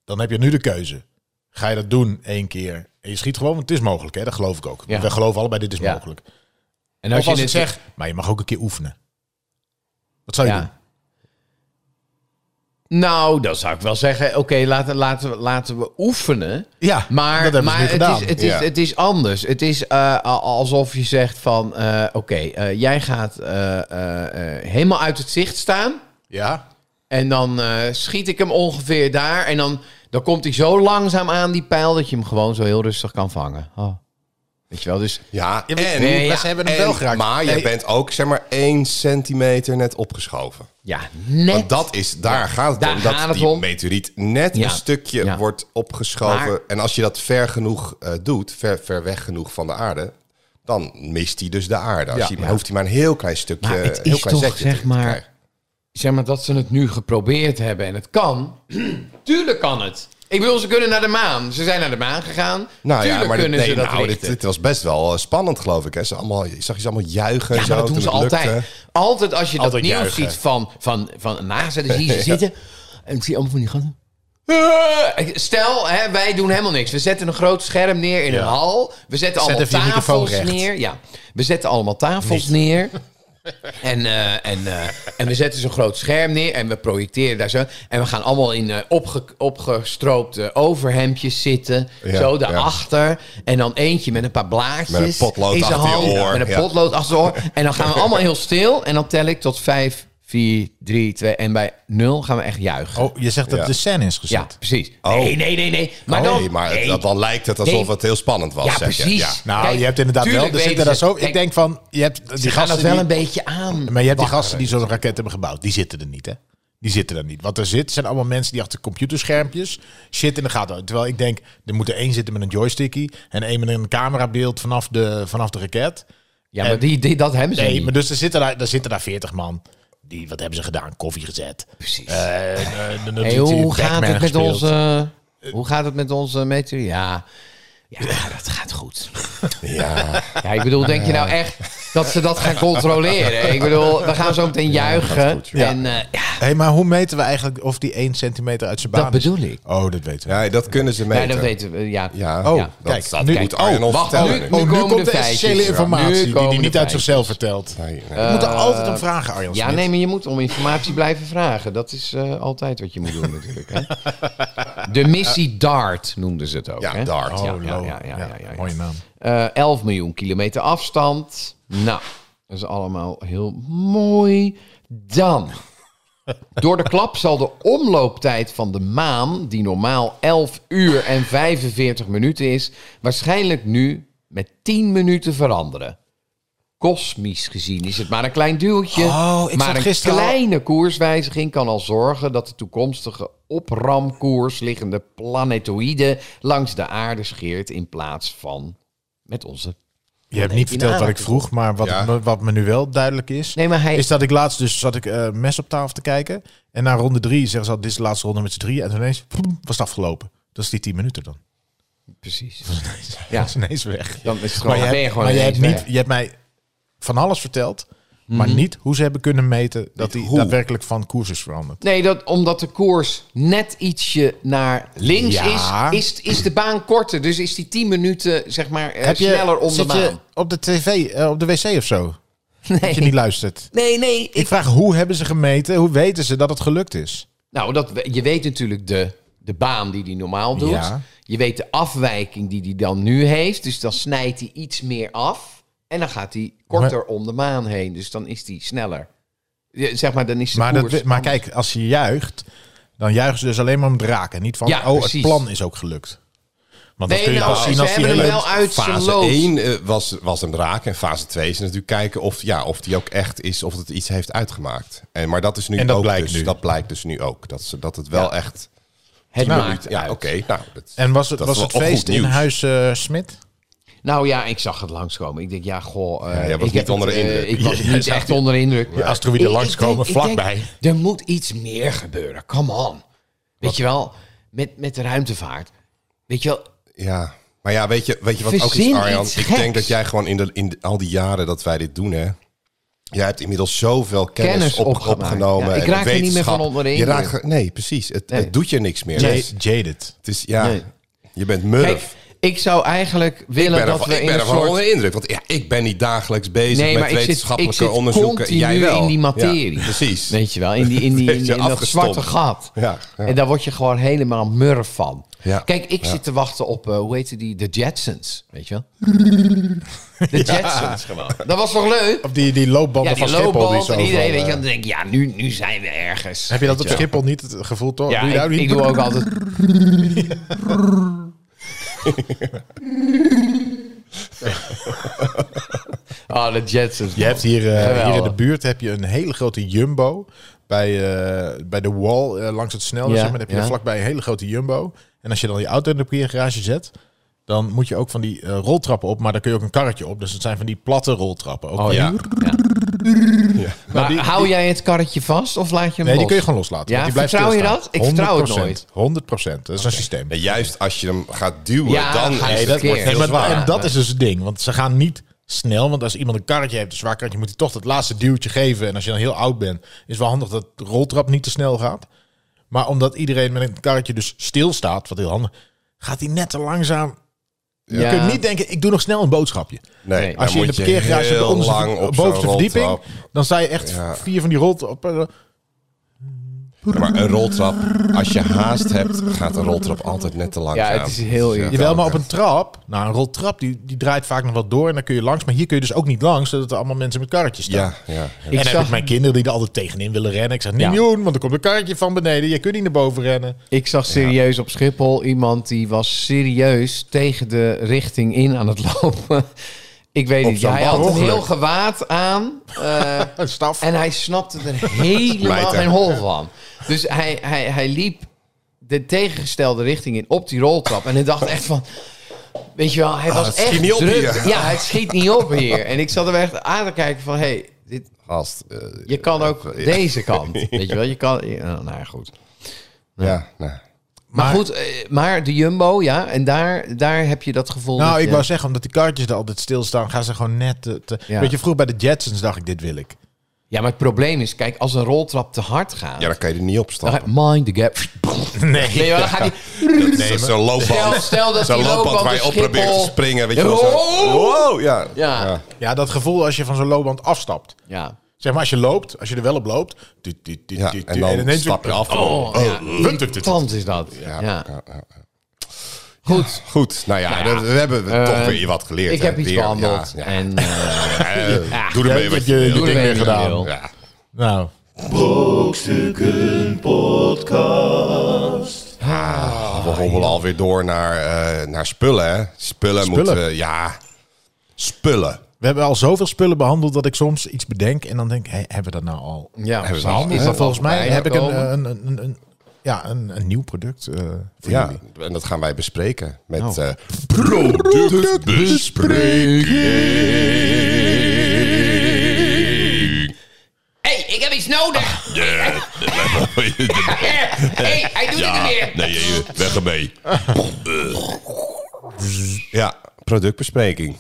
Dan heb je nu de keuze. Ga je dat doen één keer en je schiet gewoon, want het is mogelijk. Hè, dat geloof ik ook. Ja. We geloven allebei, dit is Ja. mogelijk. En als of als je ik dit zeg, maar je mag ook een keer oefenen. Wat zou je doen? Nou, dan zou ik wel zeggen, oké, laten, laten, we- laten we oefenen. Ja, Maar, dat hebben maar ze nu het, gedaan. is, het, is, Ja. het is anders. Het is eh, a- alsof je zegt van, eh, oké, eh, jij gaat eh, eh, eh, helemaal uit het zicht staan. Ja, En dan eh, schiet ik hem ongeveer daar. En dan, dan komt hij zo langzaam aan die pijl dat je hem gewoon zo heel rustig kan vangen. Oh. Weet je wel, dus... Ja, en, maar- nee, ja, ze hebben hem en- wel geraakt. Maar je Nee. bent ook zeg maar 1 centimeter net opgeschoven. Ja, net. Want dat is, daar gaat het Daar om. Dat gaat het die om. meteoriet net Ja. een stukje Ja. wordt opgeschoven. Maar- en als je dat ver genoeg eh, doet, ver, ver weg genoeg van de aarde... dan mist hij dus de aarde. Als Ja. je, Ja. Hoeft hij maar een heel klein stukje, Maar het heel is klein toch, zetje te zeg maar, krijgen. zeg maar dat ze het nu geprobeerd hebben en het kan. Tuurlijk kan het. Ik bedoel, ze kunnen naar de maan. Ze zijn naar de maan gegaan. Nou Tuurlijk ja, maar dit, kunnen nee, ze dat nou, dit, richten. dit was best wel eh, spannend, geloof ik. Hè. Ze allemaal, ik zag je ze allemaal juichen. en ja, zo, maar dat doen toen ze het lukte. altijd. Altijd als je dat Altijd nieuws juichen. ziet van, van, van NASA, dan zie je ze zitten. En ik zie allemaal van die gasten. Stel, hè, wij doen helemaal niks. We zetten een groot scherm neer in een hal. We zetten allemaal even je microfoon tafels recht. neer. Ja, we zetten allemaal tafels neer. En, eh, en, eh, en we zetten zo'n groot scherm neer en we projecteren daar zo. En we gaan allemaal in eh, opge opgestroopte overhemdjes zitten. Ja, zo ja. daarachter. En dan eentje met een paar blaadjes. Met een potlood in zijn achter je hand. oor, Met een ja. potlood achter zijn oor. En dan gaan we allemaal heel stil. En dan tel ik tot vijf, vier, drie, twee. En bij nul gaan we echt juichen. Oh, je zegt dat Ja. de scène is ja, gezet. precies. Oh. Nee, nee, nee, nee. Oh, Maar dan... nee, maar het- nee. dat- dan lijkt het alsof Nee. het heel spannend was. Ja, zeg je. precies. Ja. Nou, Kijk, je hebt inderdaad wel. tuurlijk Er zitten weten daar ze- zo. Ik Kijk, denk van, je hebt die Ze gaan gasten dat wel die- een beetje aan. Maar je hebt die gasten die zo'n raket hebben gebouwd, die zitten er niet, hè? Die zitten er niet. Wat er zit, zijn allemaal mensen die achter computerschermpjes shit in de gaten houden. Terwijl ik denk, er moet er één zitten met een joystickie en één met een camerabeeld vanaf de, vanaf de raket. Ja, maar die, die, dat hebben ze Nee, niet. maar dus er zitten daar, er zitten daar 40 man. Die, wat hebben ze gedaan? Koffie gezet. Precies. Eh, eh, eh, Hey, natuurlijk hoe, gaat Pac-Man het met gespeeld. Eh, onze, hoe gaat het met onze meter? Ja, ja dat gaat goed. Ja. Ja, ik bedoel, denk je nou echt dat ze dat gaan controleren? Ik bedoel, we gaan zo meteen juichen. en eh, ja, Hé, maar hoe meten we eigenlijk of die 1 centimeter uit zijn baan dat is? bedoel ik. Oh, dat weten we. Ja, dat kunnen ze meten. Nee, dat weten we. Ja, Ja, Oh, Ja. dat, kijk, dat nu- moet oh, Arjen ons wacht, vertellen. nu- nu. Oh, nu komen komt de de essentiële feitjes. Ja, nu informatie die komen hij de niet uit feitjes. zichzelf vertelt. Nee, nee. We moeten altijd om vragen, Arjan ja Smit. nee, maar je moet om informatie blijven vragen. Dat is eh, altijd wat je moet doen natuurlijk. Hè? De missie DART noemden ze het ook. Ja, hè? DART. Ja, Oh, ja, lol. ja, ja, ja, ja, ja. Mooie naam. Eh, 11 miljoen kilometer afstand. Nou, Dat is allemaal heel mooi. Dan. Door de klap zal de omlooptijd van de maan, die normaal 11 uur en 45 minuten is, waarschijnlijk nu met 10 minuten veranderen. Kosmisch gezien is het maar een klein duwtje. Oh, ik maar zat een gisteren al- kleine koerswijziging kan al zorgen dat de toekomstige opramkoers liggende planetoïde langs de aarde scheert in plaats van met onze. Je hebt niet verteld wat ik vroeg, maar wat, Ja. me, wat me nu wel duidelijk is... Nee, maar hij is dat ik laatst dus zat ik eh, mes op tafel te kijken. En na ronde drie zeggen ze al, dit is de laatste ronde met z'n drieën. En toen ineens poem, was het afgelopen. Dat is die tien minuten dan. Precies. Ja. Ja. Dat is ineens weg. Dan is het Maar gewoon, je dan ben je hebt, gewoon maar je hebt, ineens niet, weg. je hebt mij van alles verteld, maar niet hoe ze hebben kunnen meten dat die hoe. daadwerkelijk van koers is veranderd. Nee, dat, omdat de koers net ietsje naar links Ja. is, is, is de baan korter. Dus is die 10 minuten zeg maar, eh, Heb je, sneller om de zit je maan. op de tv, eh, op de wc of zo? Dat je Nee. niet luistert. nee, nee. Ik vraag, hoe hebben ze gemeten? Hoe weten ze dat het gelukt is? Nou, dat, we- je weet natuurlijk de, de baan die hij normaal doet. Ja. Je weet de afwijking die hij dan nu heeft. Dus dan snijdt hij iets meer af. En dan gaat hij korter om de maan heen. Dus dan is hij sneller. Ja, Zeg maar, dan is de Maar, koers... dat, maar kijk, als je juicht, dan juichen ze dus alleen maar om het raken. Niet van, Ja, oh, het precies. plan is ook gelukt. Want dat Nee, kun je nou, pas zien ze als die hebben hem hele... wel uit zijn Fase lood. 1 was, was hem raken. En fase 2 is natuurlijk kijken of, ja, of die ook echt is, of het iets heeft uitgemaakt. En, maar dat is nu En dat ook blijkt dus, nu. Dat blijkt dus nu ook. Dat, ze, dat het wel echt... Het Nou, maakt ja, uit. oké. nou, dat- En was het, dat was is het wel feest goed in nieuws. huis eh, Smit? Nou ja, ik zag het langskomen. Ik denk, ja, goh. eh, Ja, jij was ik heb niet onder de het, eh, indruk. ik was Ja, jij niet zag echt die- onder de indruk. die asteroïden Ik- ik langskomen, denk- ik vlakbij. denk, Er moet iets meer gebeuren. Come on. Weet je wel, met, met de ruimtevaart. Weet je wel, Ja, maar ja, weet je, weet je wat ook is, Verzin Arjan? iets Ik geks. denk dat jij gewoon in, de, in de- al die jaren dat wij dit doen, hè. Jij hebt inmiddels zoveel kennis, Kennis op, opgemaakt. opgenomen. Ja, ik en raak er niet meer wetenschap. van onder de Je indruk. raakt ge- nee, precies. Het, Nee. het doet je niks meer. Ja- Jaded. Het is, ja, Nee. je bent murf. kijk, ik zou eigenlijk ik willen ben, dat ervan, we ik in ben een ervan onder soort... de indruk. Want ja, ik ben niet dagelijks bezig Nee, maar met ik zit- wetenschappelijke ik zit onderzoeken. en Jij continu wel. in die materie. Ja, precies. Weet je wel, in, die, in, die, in, Beetje in dat afgestompt. zwarte gat. Ja, ja. En daar word je gewoon helemaal murf van. Ja. Kijk, ik zit te wachten op, eh, hoe heette die, de Jetsons. Weet je wel? De Jetsons gewoon. Dat was toch leuk? Of die, die loopbanden Ja, die van Schiphol. Die loopband zo en iedereen, overal, weet je, eh, dan denk ik, ja, nu, nu zijn we ergens. Heb je dat Weet op wel. Schiphol niet het gevoel, toch? Ja, Doe je daar ik, niet? ik doe ook altijd... Oh, de Jetsons. Je hebt hier, eh, Geweldig. hier in de buurt heb je een hele grote Jumbo. Bij, eh, bij de wall eh, langs het snelweg. Ja, zeg maar, dan heb je ja. daar vlakbij een hele grote Jumbo. En als je dan je auto in de parkeergarage zet... dan moet je ook van die eh, roltrappen op. Maar daar kun je ook een karretje op. Dus het zijn van die platte roltrappen. Ook Oh die- ja. ja. Maar hou jij het karretje vast of laat je hem Nee, die los? kun je gewoon loslaten. Ja, want die blijft vertrouw je stilstaan. dat? Ik vertrouw het 100%, nooit. 100%. Dat is een systeem. En juist als je hem gaat duwen, Ja, dan ga je is het verkeerd. wordt Nee, heel maar- zwaar. en dat is dus het ding. Want ze gaan niet snel. Want als iemand een karretje heeft, een zwaar karretje, moet hij toch dat laatste duwtje geven. En als je dan heel oud bent, is wel handig dat de roltrap niet te snel gaat. Maar omdat iedereen met een karretje dus stilstaat, wat heel handig, gaat hij net te langzaam. Je Ja. kunt niet denken, ik doe nog snel een boodschapje. Nee, Nee. dan Als je in de moet parkeergarage hebt, heel de onderste- lang op zo'n bovenste verdieping, roltrap. dan sta je echt Ja. vier van die eh, roltrappen. Ja, maar een roltrap, als je haast hebt, gaat een roltrap altijd net te langzaam. Ja, het is heel Dus, eh, Jawel, maar op oké. een trap, nou een roltrap, die, die draait vaak nog wat door en dan kun je langs. Maar hier kun je dus ook niet langs, zodat er allemaal mensen met karretjes staan. Ja, ja. ja. Ik en dan zag- heb ik mijn kinderen die er altijd tegenin willen rennen. Ik zeg, niet Ja. doen, want er komt een karretje van beneden. Je kunt niet naar boven rennen. Oh, Ik zag serieus op Schiphol iemand die was serieus tegen de richting in aan het lopen. Ik weet Op niet, zo'n hij had een ongeluk. heel gewaad aan. eh, Een staf. en hij snapte er helemaal Mijter. geen hol van. Dus hij, hij, hij liep de tegengestelde richting in op die roltrap. En hij dacht echt van... Weet je wel, hij was Ah, het schiet echt niet op druk. hier. Ja, het schiet niet op hier. En ik zat hem echt aan te kijken van... Hey, dit, Gast, eh, je kan ook Ja. deze kant. Weet je wel, je kan... ja, nou ja, goed. ja, nou. Maar, Maar- goed, eh, maar de Jumbo, ja, en daar, daar heb je dat gevoel. Nou, dat ik je- wou zeggen, omdat die karretjes er altijd stilstaan, gaan ze gewoon net... Te, te- Ja. Weet je, vroeger bij de Jetsons dacht ik, dit wil ik. Ja, maar het probleem is, kijk, als een roltrap te hard gaat, ja, dan kan je er niet op dan stappen. gaat mind the gap. Nee. Nee, maar dan gaat die, Dat is zo'n loopband. Stel- stel dat zo'n die loopband, loopband waar op je op probeert te Schiphol- springen. Weet je wel, Wow! zo. Wow, ja. Ja. Ja, dat gevoel als je van zo'n loopband afstapt. ja. Zeg maar, als je loopt, als je er wel op loopt... Dit, dit, dit, Ja, dit, en dit, dan ineens- stap je af. Oh, ja. Hup, dit, dit, dit. Irritant is dat. Ja, Ja. ja, ja. Goed. Goed, nou ja, ja, dat- we hebben eh, toch weer wat geleerd. Ik hè? heb iets Weer, behandeld. ja, ja. En, eh, Eh, Ja. Doe ermee Ja, wat dat je je- wil. Doe ermee Dingen wat je gedaan. wil. Ja. Nou, Brokstukken Podcast. Ah, we hobbelen alweer door naar, eh, naar spullen, hè? Spullen, moeten we... Ja, spullen. we hebben al zoveel spullen behandeld dat ik soms iets bedenk en dan denk ik, hé, hebben we dat nou al? ja, Hebben ze is al, hè? Is al dat volgens mij voorbij heb ik een, eh, gekomen? een, een, een- een- ja, een, een nieuw product eh voor Ja, jullie. en dat gaan wij bespreken met eh productbespreking. Hey, ik heb iets nodig. Ah. hey, hij doet Ja, het weer. nee, weg ermee. Ja, productbespreking.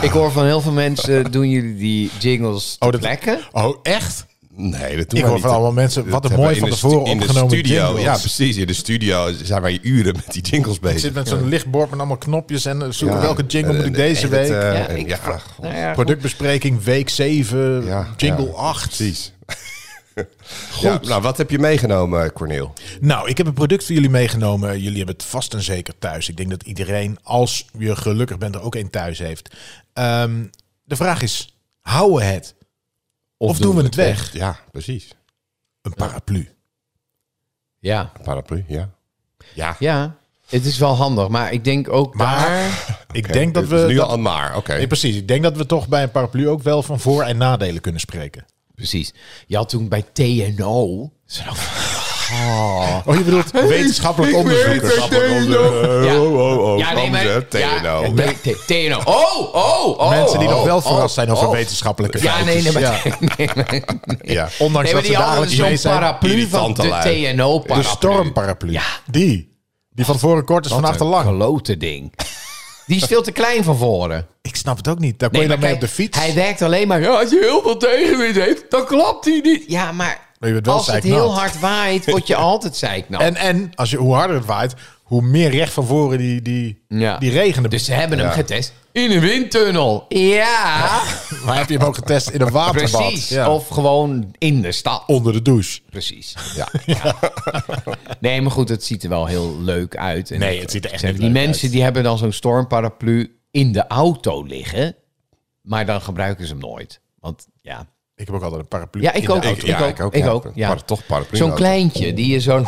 Ik hoor van heel veel mensen, eh, doen jullie die jingles Oh, te dat- plekken? Oh, echt? Nee, dat doen Ik wij hoor niet. van allemaal mensen, Dat wat een hebben mooi we van in de tevoren stu- in de opgenomen studio. jingles. Ja, precies. In de studio zijn wij uren met die jingles Ik bezig. zit met zo'n lichtbord met allemaal knopjes en eh, zoeken Ja. welke jingle moet En- ik deze en het, week. eh, Ja, en ik- ja, god, Nou ja, Productbespreking week 7, Ja, jingle ja, 8. precies. Ja, nou, wat heb je meegenomen, Corneel? Nou, ik heb een product voor jullie meegenomen. Jullie hebben het vast en zeker thuis. Ik denk dat iedereen, als je gelukkig bent, er ook één thuis heeft. Ehm, de vraag is, houden we het? Of, doen we het weg? Ja, precies. Een paraplu. Ja. Een paraplu, ja. Ja, ja, het is wel handig. Maar ik denk ook Maar- daar... Ik oké, denk dat dit is we... nu dat- al een maar, oké. nee, precies. Ik denk dat we toch bij een paraplu ook wel van voor- en nadelen kunnen spreken. Precies. Je had toen bij TNO... Oh, je bedoelt wetenschappelijk onderzoekers. Ja. Oh, oh, oh. Ja, nee, Anders, maar... hè, TNO. Ja, T- T- TNO. Oh, oh, oh. Mensen die nog wel oh, verrast zijn over oh. wetenschappelijke Ja, nee, nee, maar... feitjes. Ja. nee, maar- Ja. Ondanks Nee, maar dat ze die hadden dagelijks mee zo'n zijn. paraplu van irritante de lui. TNO-paraplu. De stormparaplu. Ja. Die. Die van voren kort is, van achter lang. Klote ding. Die is veel te klein van voren. Ik snap het ook niet. Daar kon je maar dan mee op kijk, de fiets. Hij werkt alleen maar. Ja, als je heel veel tegenwind heeft, dan klapt hij niet. Ja, maar. Maar je bent wel als het zeiknat. heel hard waait, word je altijd zeiknat. En, en als je, hoe harder het waait, hoe meer recht van voren die, die, Ja. die regenen. Dus ze hebben hem Ja. getest in een windtunnel. Ja, maar heb je hem ook getest in een waterbad? precies. Ja. Of gewoon in de stad. onder de douche. Precies. Ja. Nee, maar goed, het ziet er wel heel leuk uit. En Nee, het ziet er echt Ze hebben niet die leuk mensen die hebben dan zo'n stormparaplu in de auto liggen, maar dan gebruiken ze hem nooit. Want ja, Ik heb ook altijd een paraplu. ja ik, in de ook, Ik- auto. ik, ja, ook. ik ook, Ik ja. ook. Ja. Par- toch paraplu Zo'n nodig. klein die je zo'n.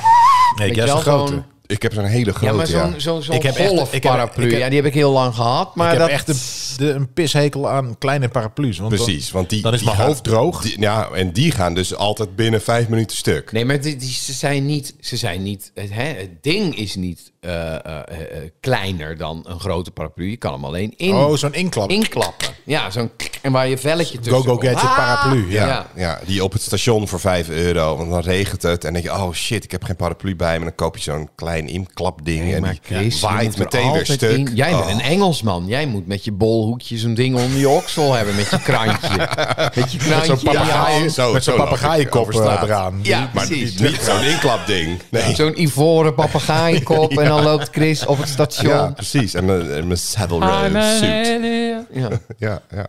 Nee, weet jij je is een wel, grote. zo'n- Ik heb zo'n hele Ja, maar grote, ja. zo'n zo'n zo'n Ik heb echt- ik heb- golfparaplu. ik heb- ja, die heb ik heel lang gehad. Maar ik heb dat, echt een, de, een pishekel aan kleine paraplu's. Want Precies, dan- want die... Dan is die mijn gaan- hoofd droog. die- ja, en die gaan dus altijd binnen vijf minuten stuk. Nee, maar die, die- ze zijn niet. Ze zijn niet het, hè, het ding is niet eh, eh, eh, eh, kleiner dan een grote paraplu. Je kan hem alleen in, oh, zo'n inklap. inklappen. Ja, zo'n. klik, En waar je velletje tussen. Go-go komt. gadget Ah! paraplu. Ja. Ja, Ja. ja. die op het station voor 5 euro. Want dan regent het. En dan denk je, oh shit, ik heb geen paraplu bij me. En dan koop je zo'n klein inklapding. Nee, en maar die Chris, je moet waait er meteen weer altijd stuk. in- Jij bent Oh. een Engelsman. Jij moet met je bolhoekje zo'n ding onder je oksel hebben. Met je krantje. met je Met krantje. zo'n in je hand. papegaai- Ja, zo- met zo'n zo loop ik papegaaienkop over straat. eh, eraan. Ja, Die- Maar precies. niet niet zo'n inklapding. Nee. Ja, Zo'n ivoren papegaaienkop en dan loopt Chris op het station. precies. En mijn, en mijn Savile Row suit. Ja. Ja, ja.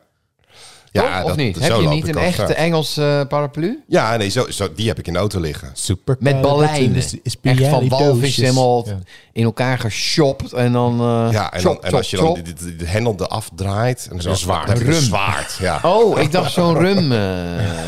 Toch? of dat- niet? zo Heb je loop niet ik een over echte e- straat. Engelse eh, paraplu? Ja, nee, zo, zo, die heb ik in de auto liggen. Super. Met ballijnen. dus Echt van walvis helemaal in elkaar geshopt. En dan... eh, Ja, en, chop, dan, en chop, als je dan chop. de, de, de hendel eraf draait... En zo, een zwaard. dan heb je Rum. een zwaard. Ja. Oh, ik dacht zo'n rum. eh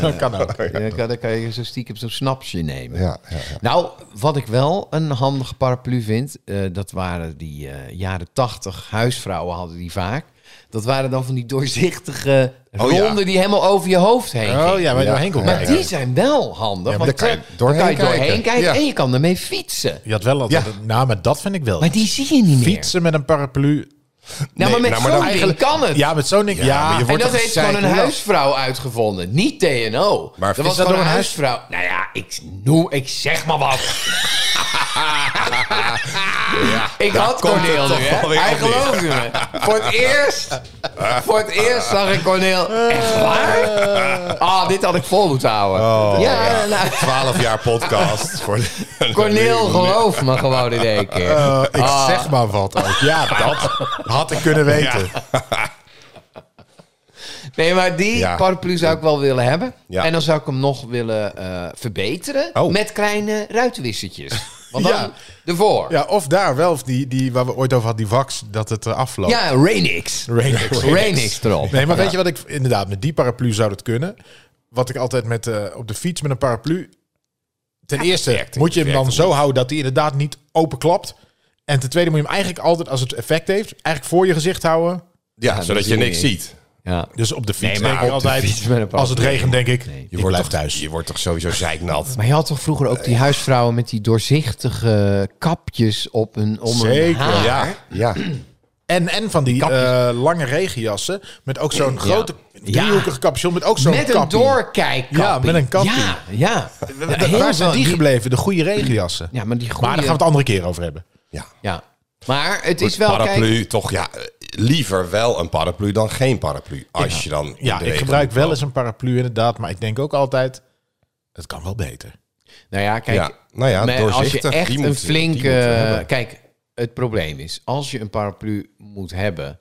Dat kan ook. ja, kan- dan kan je zo stiekem zo'n snapsje nemen. Ja, ja, ja. Nou, wat ik wel een handige paraplu vind, eh, dat waren die eh, jaren tachtig huisvrouwen hadden die vaak. Dat waren dan van die doorzichtige Oh, ja. ronden die helemaal over je hoofd heen gingen. Oh ja, waar je doorheen kon Maar kijken. die zijn wel handig, Ja, maar want daar kan eh, je daar kan je doorheen, doorheen kijken, kijken. Ja. en je kan ermee fietsen. Je had wel altijd... Ja. Nou, maar dat vind ik wel. Maar die zie je niet meer. Fietsen met een paraplu. Nou, Nee, maar met nou, maar dan zo'n ding kan het. Ja, met zo'n ding. Ja, maar je en wordt dat toch heeft gewoon een gezeik last. huisvrouw uitgevonden, niet TNO. Maar dat is was dat gewoon ook een een huisvrouw. Nou ja, ik, noem, ik zeg maar wat. Ik had komt het Corneel nu, toch hè? wel weer Hij op neer. geloofde me. Voor het eerst, voor het eerst zag ik Corneel. Echt waar? Ah, dit had ik vol moeten houden. Oh. ja, nou, 12 jaar podcast. voor Corneel, geloof me gewoon in één keer. Oh. Eh, ik zeg maar wat ook. Ja, dat had ik kunnen weten. Nee, maar die Ja. paraplu zou ik wel willen hebben. Ja. En dan zou ik hem nog willen eh, verbeteren Oh. met kleine ruitenwissertjes. Want dan Ja. ervoor. Ja, Ja, of daar wel, of die, die waar we ooit over hadden, die wax, dat het er afloopt. Rainix. Rainix. Rainix erop. Nee, maar weet je wat ik inderdaad met die paraplu zou dat kunnen? Wat ik altijd met eh, op de fiets met een paraplu. Ten eerste werkt, moet je hem werkt dan zo houden dat hij inderdaad niet openklapt. En ten tweede moet je hem eigenlijk altijd, als het effect heeft, eigenlijk voor je gezicht houden. Ja, dat zodat zie je je niks niet. ziet. Ja. Dus op de fiets maar denk ik op de altijd. fiets met een als het paraplu. regent, denk ik. Nee. Je ik blijf toch, thuis. Je wordt toch sowieso zeiknat. Maar je had toch vroeger ook die huisvrouwen met die doorzichtige kapjes op hun om hun Zeker, haar. ja. Ja. En, en van die eh, lange regenjassen. Met ook zo'n grote driehoekige capuchon. Met ook zo'n Met een kappie. doorkijkkappie. Ja, met een kappie. Ja, ja. Ja, heel Waar zijn wel- die gebleven? De goede regenjassen. Ja, maar die goede... Maar daar gaan we het andere keer over hebben. ja. Ja. Maar het is wel... paraplu, Kijk, toch ja. eh, Liever wel een paraplu dan geen paraplu. Als je dan. in Ja, de ik regen gebruik moet wel eens een paraplu inderdaad, maar ik denk ook altijd, het kan wel beter. nou ja, kijk. Ja, nou ja, maar als je doorzichtig, echt die een moeten- die moeten we flinke... hebben. Kijk, het probleem is, als je een paraplu moet hebben...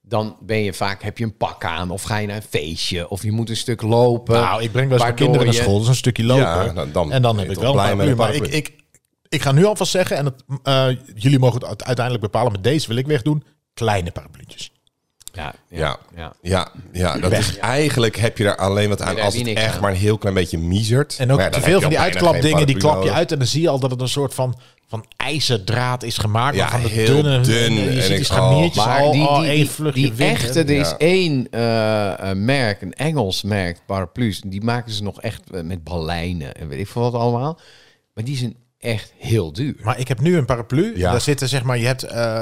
Dan ben je vaak, heb je een pak aan of ga je naar een feestje of je moet een stuk lopen. nou, ik breng wel eens mijn waardoor kinderen naar je- school, dus een stukje lopen. Eh, Ja, nou, dan en dan ben heb je ik toch wel een blij met paraplu. een Maar ik, paraplu. ik, ik ga nu alvast zeggen, en het, eh, jullie mogen het uiteindelijk bepalen, met deze wil ik wegdoen, kleine parapluutjes. Ja, Ja. ja. Ja, ja, dat is eigenlijk heb je daar alleen wat aan daar als heb het je niks echt aan. maar een heel klein beetje miezert. En ook Maar ja, te dan veel heb van je die al bijna geen uitklapdingen, die paraplu klap je nodig. uit en dan zie je al dat het een soort van, van ijzerdraad is gemaakt. Ja, maar van de heel dunne, dun en eh, je en ziet die ik- scharniertjes Maar al, die, al die, één die, vluchtje die wind, hè. echte, er is Ja. één eh, eh, merk, een Engels merk, paraplu's. Die maken ze nog echt eh, met balijnen en weet ik veel wat allemaal. Maar die zijn echt heel duur. Maar ik heb nu een paraplu. Ja. Daar zitten zeg maar, je hebt eh,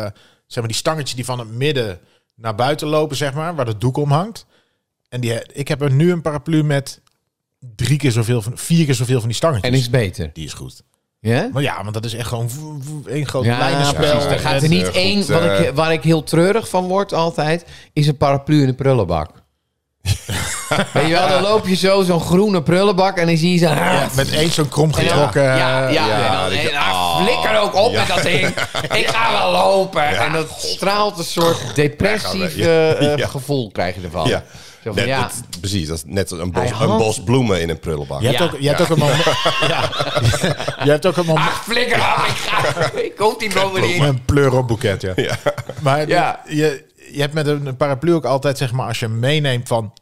zeg maar die stangetjes die van het midden naar buiten lopen, zeg maar, waar dat doek om hangt. En die, ik heb er nu een paraplu met drie keer zoveel van, vier keer zoveel van die stangetjes. En is beter. die is goed. Ja? Maar ja, want dat is echt gewoon v- v- één groot Ja, lijnenspel. precies. Daar En- gaat er niet goed, één. Wat eh, ik, waar ik heel treurig van word altijd, is een paraplu in een prullenbak. Weet je wel, dan loop je zo zo'n groene prullenbak en dan zie je zo... ja, met één zo'n krom En dan- getrokken. ja, ja, eh, ja, en dan- dat je- en dan ah, flikker ook op ja. met dat ding. Ik ga wel lopen. en dat straalt een soort depressief Ja, ja. eh, eh, Ja. gevoel krijg je ervan. Ja. Zo van, Net, ja. dat- precies, dat is net als een bos, Hij had- een bos bloemen in een prullenbak. Je hebt, Ja. ook, je hebt ook een moment. Ja. Je hebt ook een moment. Ach, Ah, flikker op. Ik, ga, ik kom die boven niet. Een pleuropboeket, ja. ja. Maar Ja. Je, je hebt met een paraplu ook altijd, zeg maar, als je meeneemt van...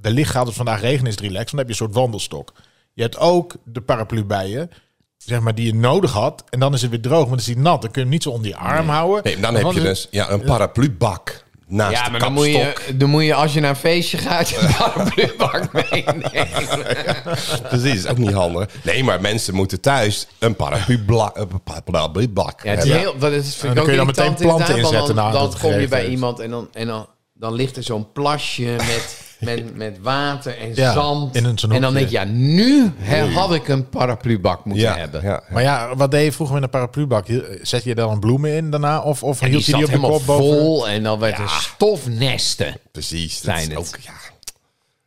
wellicht gaat het vandaag regenen, is het relaxed. Dan heb je een soort wandelstok. Je hebt ook de paraplu bij je, zeg maar, die je nodig had. En dan is het weer droog, maar dan is die nat. Dan kun je hem niet zo onder je arm houden. Nee, dan heb Want je dan- dus ja, een paraplubak naast Ja, de maar kapstok. dan moet, je, dan moet je, als je naar een feestje gaat, je paraplubak meenemen. Precies, is ook niet handig. Nee, maar mensen moeten thuis een paraplubak een paraplubak Ja, het is hebben. heel, dat is, vind dan ik ook kun je dan irritant meteen planten inderdaad, want inzetten Dan, nadat dan het kom je gereed bij is. iemand en dan, en dan, dan ligt er zo'n plasje met, met, met water en Ja, zand. in een- zo'n en dan denk hoekje. je, ja, nu hè, had ik een paraplubak moeten ja, hebben. ja. Maar ja, wat deed je vroeger met een paraplu-bak? Zet je daar dan bloemen in daarna? Of, of En die hield je zat die op de helemaal kop boven? vol en dan werd er stofnesten. precies. Dat Zijn is het. ook, ja.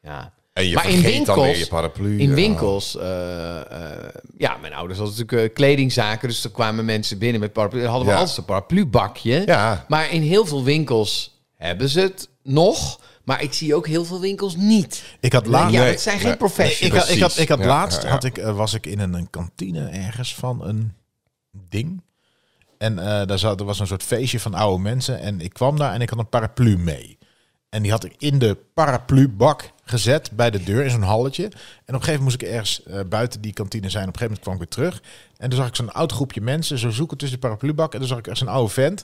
Ja. En je vergeet dan weer je paraplu. In Ja. winkels, eh, eh, ja, mijn ouders hadden natuurlijk eh, kledingzaken, dus er kwamen mensen binnen met paraplu. Dan hadden we Ja. altijd een paraplubakje. Ja. Maar in heel veel winkels hebben ze het nog, maar ik zie ook heel veel winkels niet. Ik had Ja, laatst... nee, het zijn nee. geen professionals. Ik had, ik had, ik had Ja, laatst ja, ja. Had ik, eh, was ik in een, een kantine ergens van een ding. En eh, daar zat, er was een soort feestje van oude mensen. En ik kwam daar en ik had een paraplu mee. En die had ik in de paraplubak gezet bij de deur in zo'n halletje. En op een gegeven moment moest ik ergens eh, buiten die kantine zijn. Op een gegeven moment kwam ik weer terug. En toen zag ik zo'n oud groepje mensen zo zoeken tussen de paraplubak. En toen zag ik echt zo'n oude vent.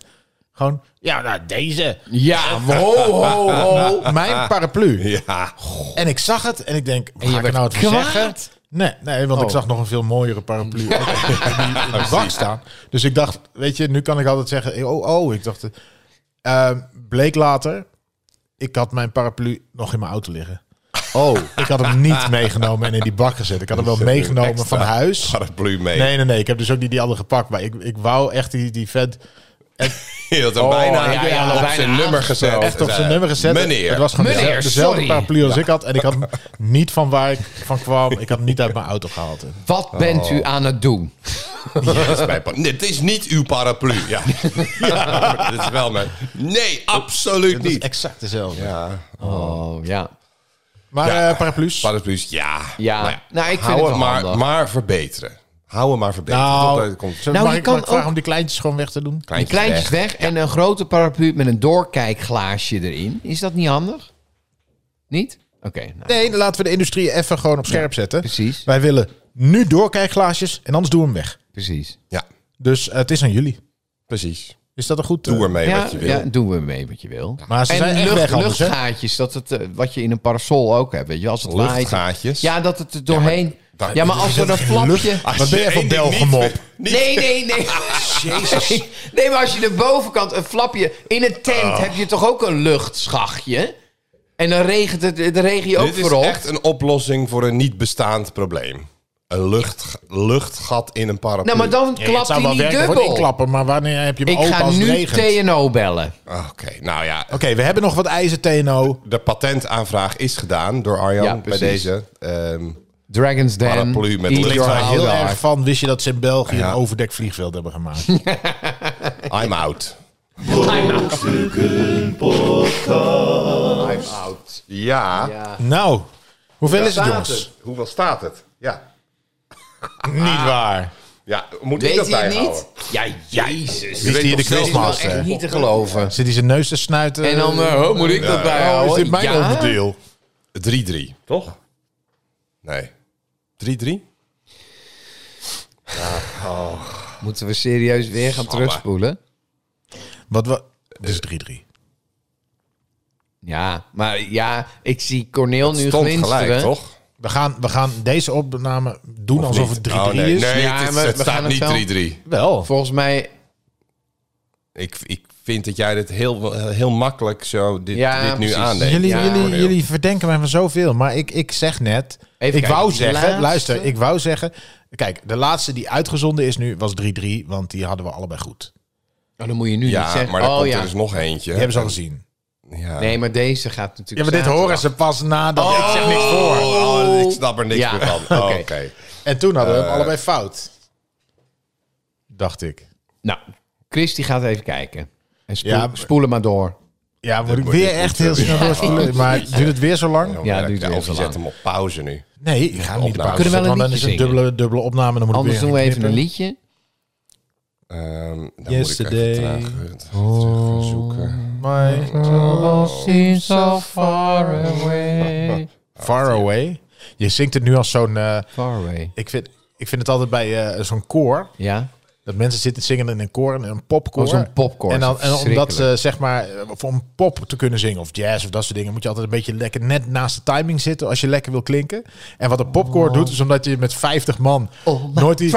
Gewoon, ja, nou deze. Ja, ho, ho, ho. Oh, Mijn paraplu. Ja, En ik zag het en ik denk, je ga ik er werd nou het kwaad? zeggen? Nee, nee, want ik Oh. zag nog een veel mooiere paraplu ook in die- in de bak staan. Dus ik dacht, weet je, nu kan ik altijd zeggen, oh, oh, ik dacht... eh, bleek later, ik had mijn paraplu nog in mijn auto liggen. Oh. Ik had hem niet meegenomen en in die bak gezet. Ik had hem wel meegenomen van Oh, huis. paraplu mee. Nee, nee, nee, ik heb dus ook niet die andere gepakt. Maar ik, ik wou echt die, die vent Je had hem bijna, ja, ja, op bijna zijn nummer gezet. echt op zijn nummer gezet. Meneer. Het was gewoon Meneer, dezelfde, dezelfde sorry. paraplu als ik had. En ik had hem niet van waar ik van kwam. Ik had hem niet uit mijn auto gehaald. Wat bent Oh. u aan het doen? Ja, dat is mijn pa- nee, het is niet uw paraplu. Ja, ja maar dit is wel mijn... Nee, absoluut Dat is niet. exact dezelfde. Ja, Oh, ja. Maar eh paraplu's. paraplu's, ja. Ja, Maar nou, ik vind hou het het wel maar, handig. maar verbeteren. Hou hem maar verbeterd. Nou, Tot, eh, komt. Zullen- Nou, mag je ik, kan mag ik vragen ook- om die kleintjes gewoon weg te doen? Die kleintjes weg, en een grote paraplu met een doorkijkglaasje erin. Is dat niet handig? Niet? Oké, nou, Nee, dan laten we de industrie even gewoon op scherp zetten. precies. Wij willen nu doorkijkglaasjes en anders doen we hem weg. precies. Ja, Dus eh, het is aan jullie. precies. Is dat een goed... eh, Doe ermee ja, wat je wil. ja, doen we mee wat je wil. Maar ze zijn en echt lucht- weg anders, hè? luchtgaatjes, dat het, eh, wat je in een parasol ook hebt, weet je, als het waait. Luchtgaatjes. nou, Ja, dat het er doorheen... Ja, maar, als er een Geen lucht- Ah, flapje... Wat ben je één van ding niet Belgemop? Nee, nee, nee. Jezus. Nee, maar als je de bovenkant een flapje... In een tent heb je toch ook een luchtschachtje? En dan regent het, de regio ook Dit is voorop. echt een oplossing voor een niet bestaand probleem. Een lucht, luchtgat in een paraplu. Nou, maar dan Ja, het klapt zou hij wel niet werken voor het dubbel. inklappen, maar wanneer heb je hem Ik open ga als het nu regent? TNO bellen. Oké, nou ja. Oké, we hebben nog wat ijzer TNO. De patentaanvraag is gedaan door Arjan Ja, bij precies. deze. Ehm, Dragon's Den. Paraplu met Eat licht Your waar Heart Heel Out. erg van, wist je dat ze in België Ja. een overdekt vliegveld hebben gemaakt? I'm out. Brokstukken Podcast. I'm out. Ja. Ja. nou, hoeveel is het Staat jongens? het? Hoeveel staat het? Ja. Niet waar. Ja, moet ik Weet dat hij het bijhouden? niet? Ja, jezus. Zit hier weet de nog steeds Dat is quizmaster? wel echt niet te geloven. Zit hij zijn neus te snuiten? En dan, eh, oh, moet ik dat bijhouden? Oh, is dit mijn Ja? onderdeel? 3-3, toch? Nee. 3-3? Moeten we serieus weer gaan terugspoelen? Wat we... Het is 3-3. Ja, maar ja, ik zie Corneel nu Stond glinsteren. gelijk, toch? We gaan, we gaan deze opname doen Of alsof niet? het 3-3 Oh, nee. is. Nee, Ja, het, is- maar het we gaan staat het niet wel- 3-3. Wel. Volgens mij, Ik, ik vind dat jij dit heel, heel makkelijk zo dit, Ja, dit nu precies. aanneemt. Jullie, Ja, jullie, Cornel. jullie verdenken mij van zoveel, maar ik, ik zeg net... Even ik kijken, wou die zeggen, laatste? luister, ik wou zeggen... Kijk, de laatste die uitgezonden is nu was 3-3, want die hadden we allebei goed. Die oh, dan moet je nu niet Ja, zeggen. maar dan oh komt ja. er dus nog eentje. hebben ze al gezien. Ja. Nee, maar deze gaat natuurlijk. Ja, maar dit zaterdag. horen ze pas nadat ik zeg niks voor. Oh, ik snap er niks Ja. meer van. Oh, Oké. En toen hadden we hem allebei fout. Dacht ik. Nou, Chris die gaat even kijken. En spoel, Ja, maar- spoelen maar door. Ja, moet ik moet- weer dit echt moet heel weer. snel doorspoelen. Maar duurt het weer zo lang? Ja, Werk, duurt ja, weer Of zo je zet lang. hem op pauze nu. Nee, ik ga hem niet de Opname. pauze Kunnen we wel zetten, een want dan is liedje het een dubbele, dubbele opname. Dan moet Anders ik weer doen we even een knippen. liedje. Ehm dan Yesterday. moet ik even traag terug zoeken. Seems so far away. Far away. Je zingt het nu als zo'n... eh, Far away. ik, vind, ik vind het altijd bij eh, zo'n koor. Ja? Dat mensen zitten zingen in een koor, in een popkoor. Oh, zo'n popkoor, En, dan, zo en omdat verschrikkelijk. ze, zeg maar, eh, voor om pop te kunnen zingen of jazz of dat soort dingen, moet je altijd een beetje lekker net naast de timing zitten als je lekker wil klinken. En wat een popkoor doet, is omdat je met 50 man Oh. nooit die...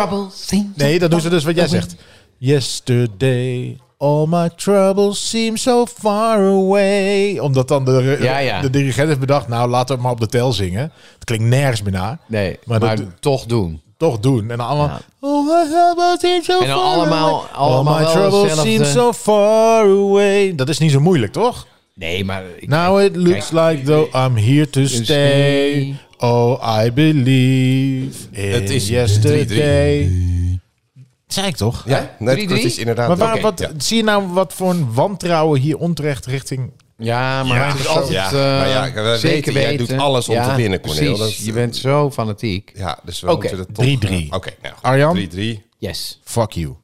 Nee, dat doen ze dus wat jij zegt. Yesterday, all my troubles seem so far away. Omdat dan de, Ja, ja. de dirigent heeft bedacht, nou laten we het maar op de tel zingen. Het klinkt nergens meer na. Nee, Maar dat maar, do- toch doen. Toch doen. En dan allemaal... Ja. Oh, my troubles seem so En dan far allemaal- away. allemaal All my wel troubles seem hetzelfde. so far away. Dat is niet zo moeilijk, toch? Nee, maar... Ik, Now it looks like though I'm here to stay. stay. Oh, I believe in Het is yesterday. Zei ik toch? Ja, net 3-3? het is inderdaad... Maar waarom, Oké, wat, ja. zie je nou wat voor een wantrouwen hier onterecht richting... ja, maar Ja, het is zo. altijd... Ja, eh, maar ja, we weten, zeker jij weten. doet alles om Ja, te winnen, Cornel. precies. Dat- eh, je bent zo fanatiek. Ja, dus we Oké, moeten het 3-3. Oké, nou goed, Arjan? 3-3. Yes. Fuck you.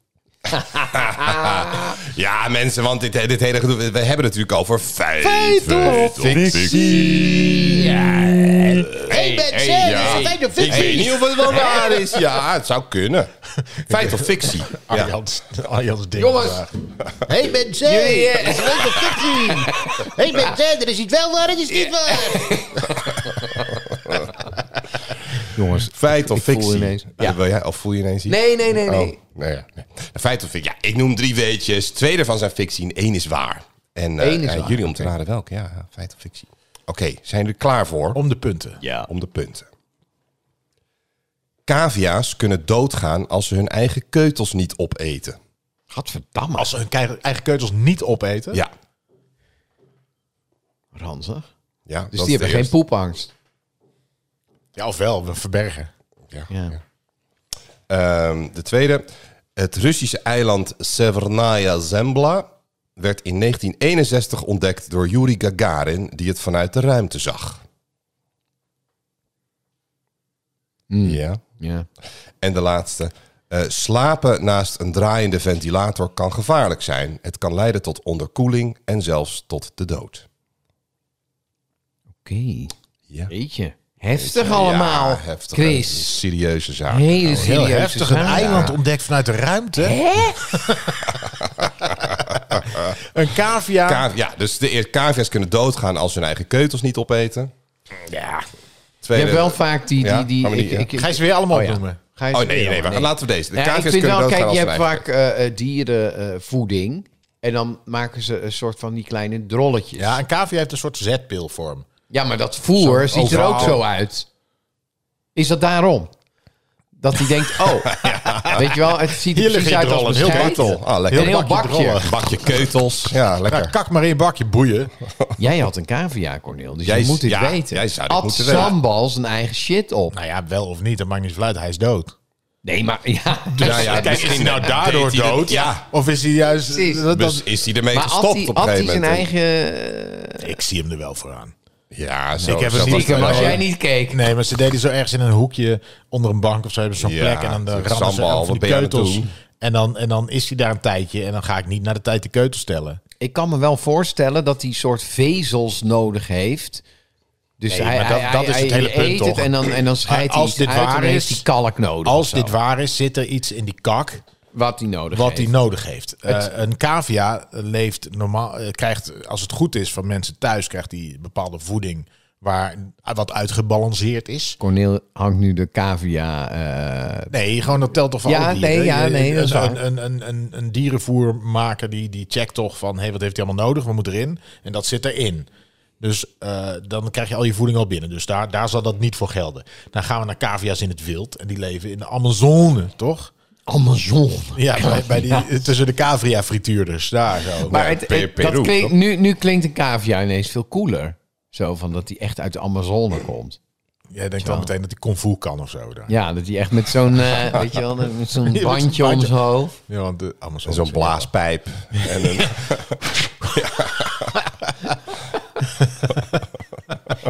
Ja, mensen, want dit, dit hele gedoe... We hebben het natuurlijk al voor feit. of fictie. Hey, hey, ja. Ik weet niet of het wel waar is. Ja, het zou kunnen. Feit of fictie. Ja. Arjans, Arjans ding. Jongens. vandaag. Hey Ben Z, Jullie, dat eh, is een leuke fictie. Hey Ben Z, er is iets wel waar, er is niet waar. Jongens. Feit of Ik voel fictie. ineens- Ja. Ja. Wil jij, of voel je ineens iets? Nee, nee, nee, nee. Oh, nee, ja, nee. Feit of fictie. Ja, ik noem drie weetjes. Twee ervan zijn fictie en één is waar. En eh, Eén is ja, waar, jullie om te raden welke. Ja, ja, feit of fictie. Oké, zijn jullie er klaar voor? Om de punten. Ja. Om de punten. Cavia's kunnen doodgaan als ze hun eigen keutels niet opeten. Gadverdamme. Als ze hun kei- eigen keutels niet opeten. Ja. Ranzig. ja dat Dus is die hebben de geen eerste. poepangst. Ja, ofwel, we verbergen. Ja. Ja. Ehm, de tweede. Het Russische eiland Severnaya Zembla werd in 1961 ontdekt door Yuri Gagarin, die het Hmm. vanuit de ruimte zag. Ja. Ja. En de laatste. eh, slapen naast een draaiende ventilator kan gevaarlijk zijn. Het kan leiden tot onderkoeling en zelfs tot de dood. Oké. Ja. Jeetje. Heftig allemaal. Ja, heftig. Chris. Serieuze zaak. Hele Heel serieuze heftig. dus Een zaak. eiland ontdekt vanuit de ruimte. een cavia. Ka- ja, dus de eer- cavia's kunnen doodgaan als ze hun eigen keutels niet opeten. Ja. Je Tweede, hebt wel vaak die... Ja, die, die gaan we niet, ja. Ga je ze weer allemaal opnoemen? Ga je Oh ze nee, weer nee, allemaal- maar laten we deze. De Ja, ik cavia's vind kunnen wel, doodgaan kijk, als je ze hun hebt eigen vaak eh, dierenvoeding. en dan maken ze een soort van die kleine drolletjes. Ja, een cavia heeft een soort zetpilvorm. Ja, maar dat voer ziet er ook zo uit. Uit. Is dat daarom? Dat hij denkt, oh, weet je wel, het ziet er Hier precies liggen uit drollen, als heel bescheid. Ketel. Ah, lekker. Een heel bakje. Bakje keutels. Ja, Ja, lekker. kak maar in je bakje, boeien. Jij had een cavia, Cornel, dus Jij je is- moet dit ja, weten. jij zou dit At moeten weten. Sambal zijn eigen shit op. Nou ja, wel of niet, dat maakt niet zoveel uit. Hij is dood. Nee, maar ja. Dus, Ja, ja, dus- misschien nou daardoor deed hij dat- dood? Ja. Of is hij juist... Precies. dat- dat- Dus is hij ermee Maar gestopt At die- op een At die gegeven zijn moment? eigen... ik zie hem er wel voor aan. Ja, zo. Ik heb zo het was stiekem, wel. Als Oh. jij niet keek. Nee, maar ze deden zo ergens in een hoekje onder een bank of zo. Hebben ze zo'n Ja, plek en dan de natuurlijk, rammen ze van sambal, die wat ben je aan het keutels. doen? En dan, en dan is hij daar een tijdje en dan ga ik niet naar de tijd de keutels stellen. Ik kan me wel voorstellen dat hij soort vezels nodig heeft. Dus Nee, hij, maar dat- hij- dat is hij- het hele hij punt, eet toch? het en dan, en dan scheidt hij Als iets dit uit en waar dan heeft is- hij kalk nodig. Als of zo. dit waar is, zit er iets in die kak Wat hij nodig wat hij heeft. nodig heeft. Eh, een cavia leeft normaal, eh, krijgt, als het goed is van mensen thuis, krijgt hij bepaalde voeding waar ah, wat uitgebalanceerd is. Corneel hangt nu de cavia. eh, Nee, gewoon dat telt toch van Ja, alle dieren. nee, ja, nee, dat is waar. een, een, een, een, een dierenvoermaker die, die checkt toch van... hé, hey, wat heeft hij allemaal nodig? We moeten erin. En dat zit erin. Dus eh, dan krijg je al je voeding al binnen. Dus daar, daar zal dat niet voor gelden. Dan gaan we naar cavia's in het wild. En die leven in de Amazone, toch? Amazon. Ja, bij, bij die, tussen de cavia-frituurders. Daar zo. Maar het, Pe- het- Peru, dat klinkt, toch? nu, nu klinkt een cavia ineens veel cooler. Zo van dat hij echt uit de Amazone komt. Jij denkt dan meteen dat hij kung fu kan of zo. Daar. Ja. Ja, dat hij echt met zo'n eh, weet je wel, met zo'n zo'n bandje om bandje. zijn hoofd. want de Amazone... En zo'n blaaspijp. En een,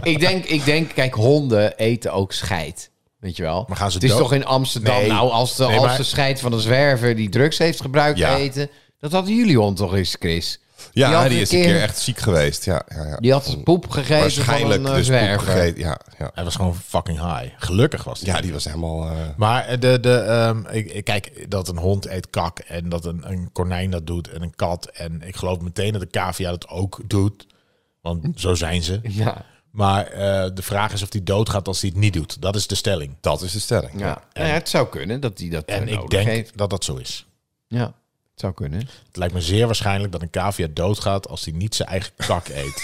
ik, denk, ik denk, kijk, honden eten ook scheid. Weet je wel? Maar gaan ze het is dood? toch in Amsterdam, Nee. nou, als de, Nee, als maar- de scheid van een zwerver die drugs heeft gebruikt Ja. eten... Dat hadden jullie hond toch eens, Chris? ja, had die, is een keer echt ziek geweest. Ja, ja, ja. Die had poep gegeten Waarschijnlijk van een eh, dus poep zwerver. gegeten. Ja, ja. Hij was gewoon fucking high. Gelukkig was hij. ja, die was helemaal... eh, Maar eh, de, de, ehm, ik, ik- kijk, dat een hond eet kak en dat een, een konijn dat doet en een kat. En ik geloof meteen dat een cavia dat ook doet. Want zo zijn ze. Ja. Maar eh, de vraag is of die doodgaat als hij het niet doet. Dat is de stelling. dat is de stelling. Ja. Nou ja, het zou kunnen dat hij dat En eh, ik nodig denk heeft. dat dat zo is. Ja, het zou kunnen. Het lijkt me zeer waarschijnlijk dat een cavia doodgaat als hij niet zijn eigen kak eet.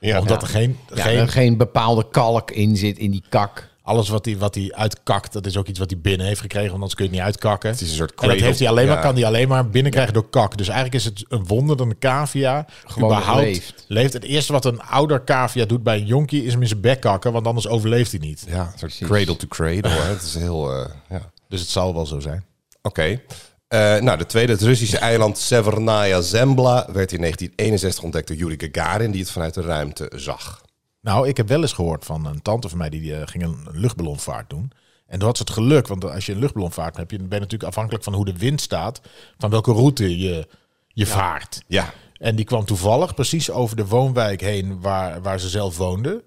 Ja. Omdat er geen, Ja, geen er geen bepaalde kalk in zit in die kak. alles wat hij, wat hij uitkakt, dat is ook iets wat hij binnen heeft gekregen. Want anders kun je het niet uitkakken. Het is een soort en dat cradle. heeft hij alleen maar, Ja. kan hij alleen maar binnenkrijgen door kak. Dus eigenlijk is het een wonder dat een cavia Gewoon überhaupt leeft. leeft. Het eerste wat een ouder cavia doet bij een jonkie is hem in zijn bek kakken. Want anders overleeft hij niet. Ja, een soort cradle to cradle. hè. Het is heel... eh, ja. Dus het zal wel zo zijn. Oké. Eh, nou, de tweede, het Russische eiland Severnaya Zembla, werd in 1961 ontdekt door Yuri Gagarin, die het vanuit de ruimte zag. Nou, ik heb wel eens gehoord van een tante van mij die eh, ging een luchtballonvaart doen. En toen had ze het geluk, want als je een luchtballonvaart hebt, je- ben je natuurlijk afhankelijk van hoe de wind staat, van welke route je, je vaart. Ja. En die kwam toevallig precies over de woonwijk heen waar, waar ze zelf woonde.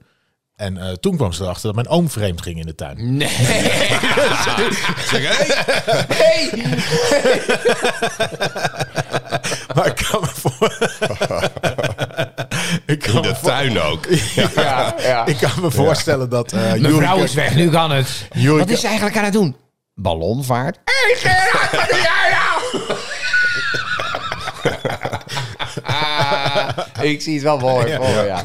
En eh, toen kwam ze erachter dat mijn oom vreemd ging in de tuin. Maar ik kan me voor... ik, kan me De voor- tuin ook. Ja, ja. ik kan me voorstellen dat... eh Mijn Jurgen- vrouw is weg, nu kan het. Jurgen- Wat is ze eigenlijk aan het doen? Ballonvaart? nou? Ah, ik zie het wel mooi. mooi, ja.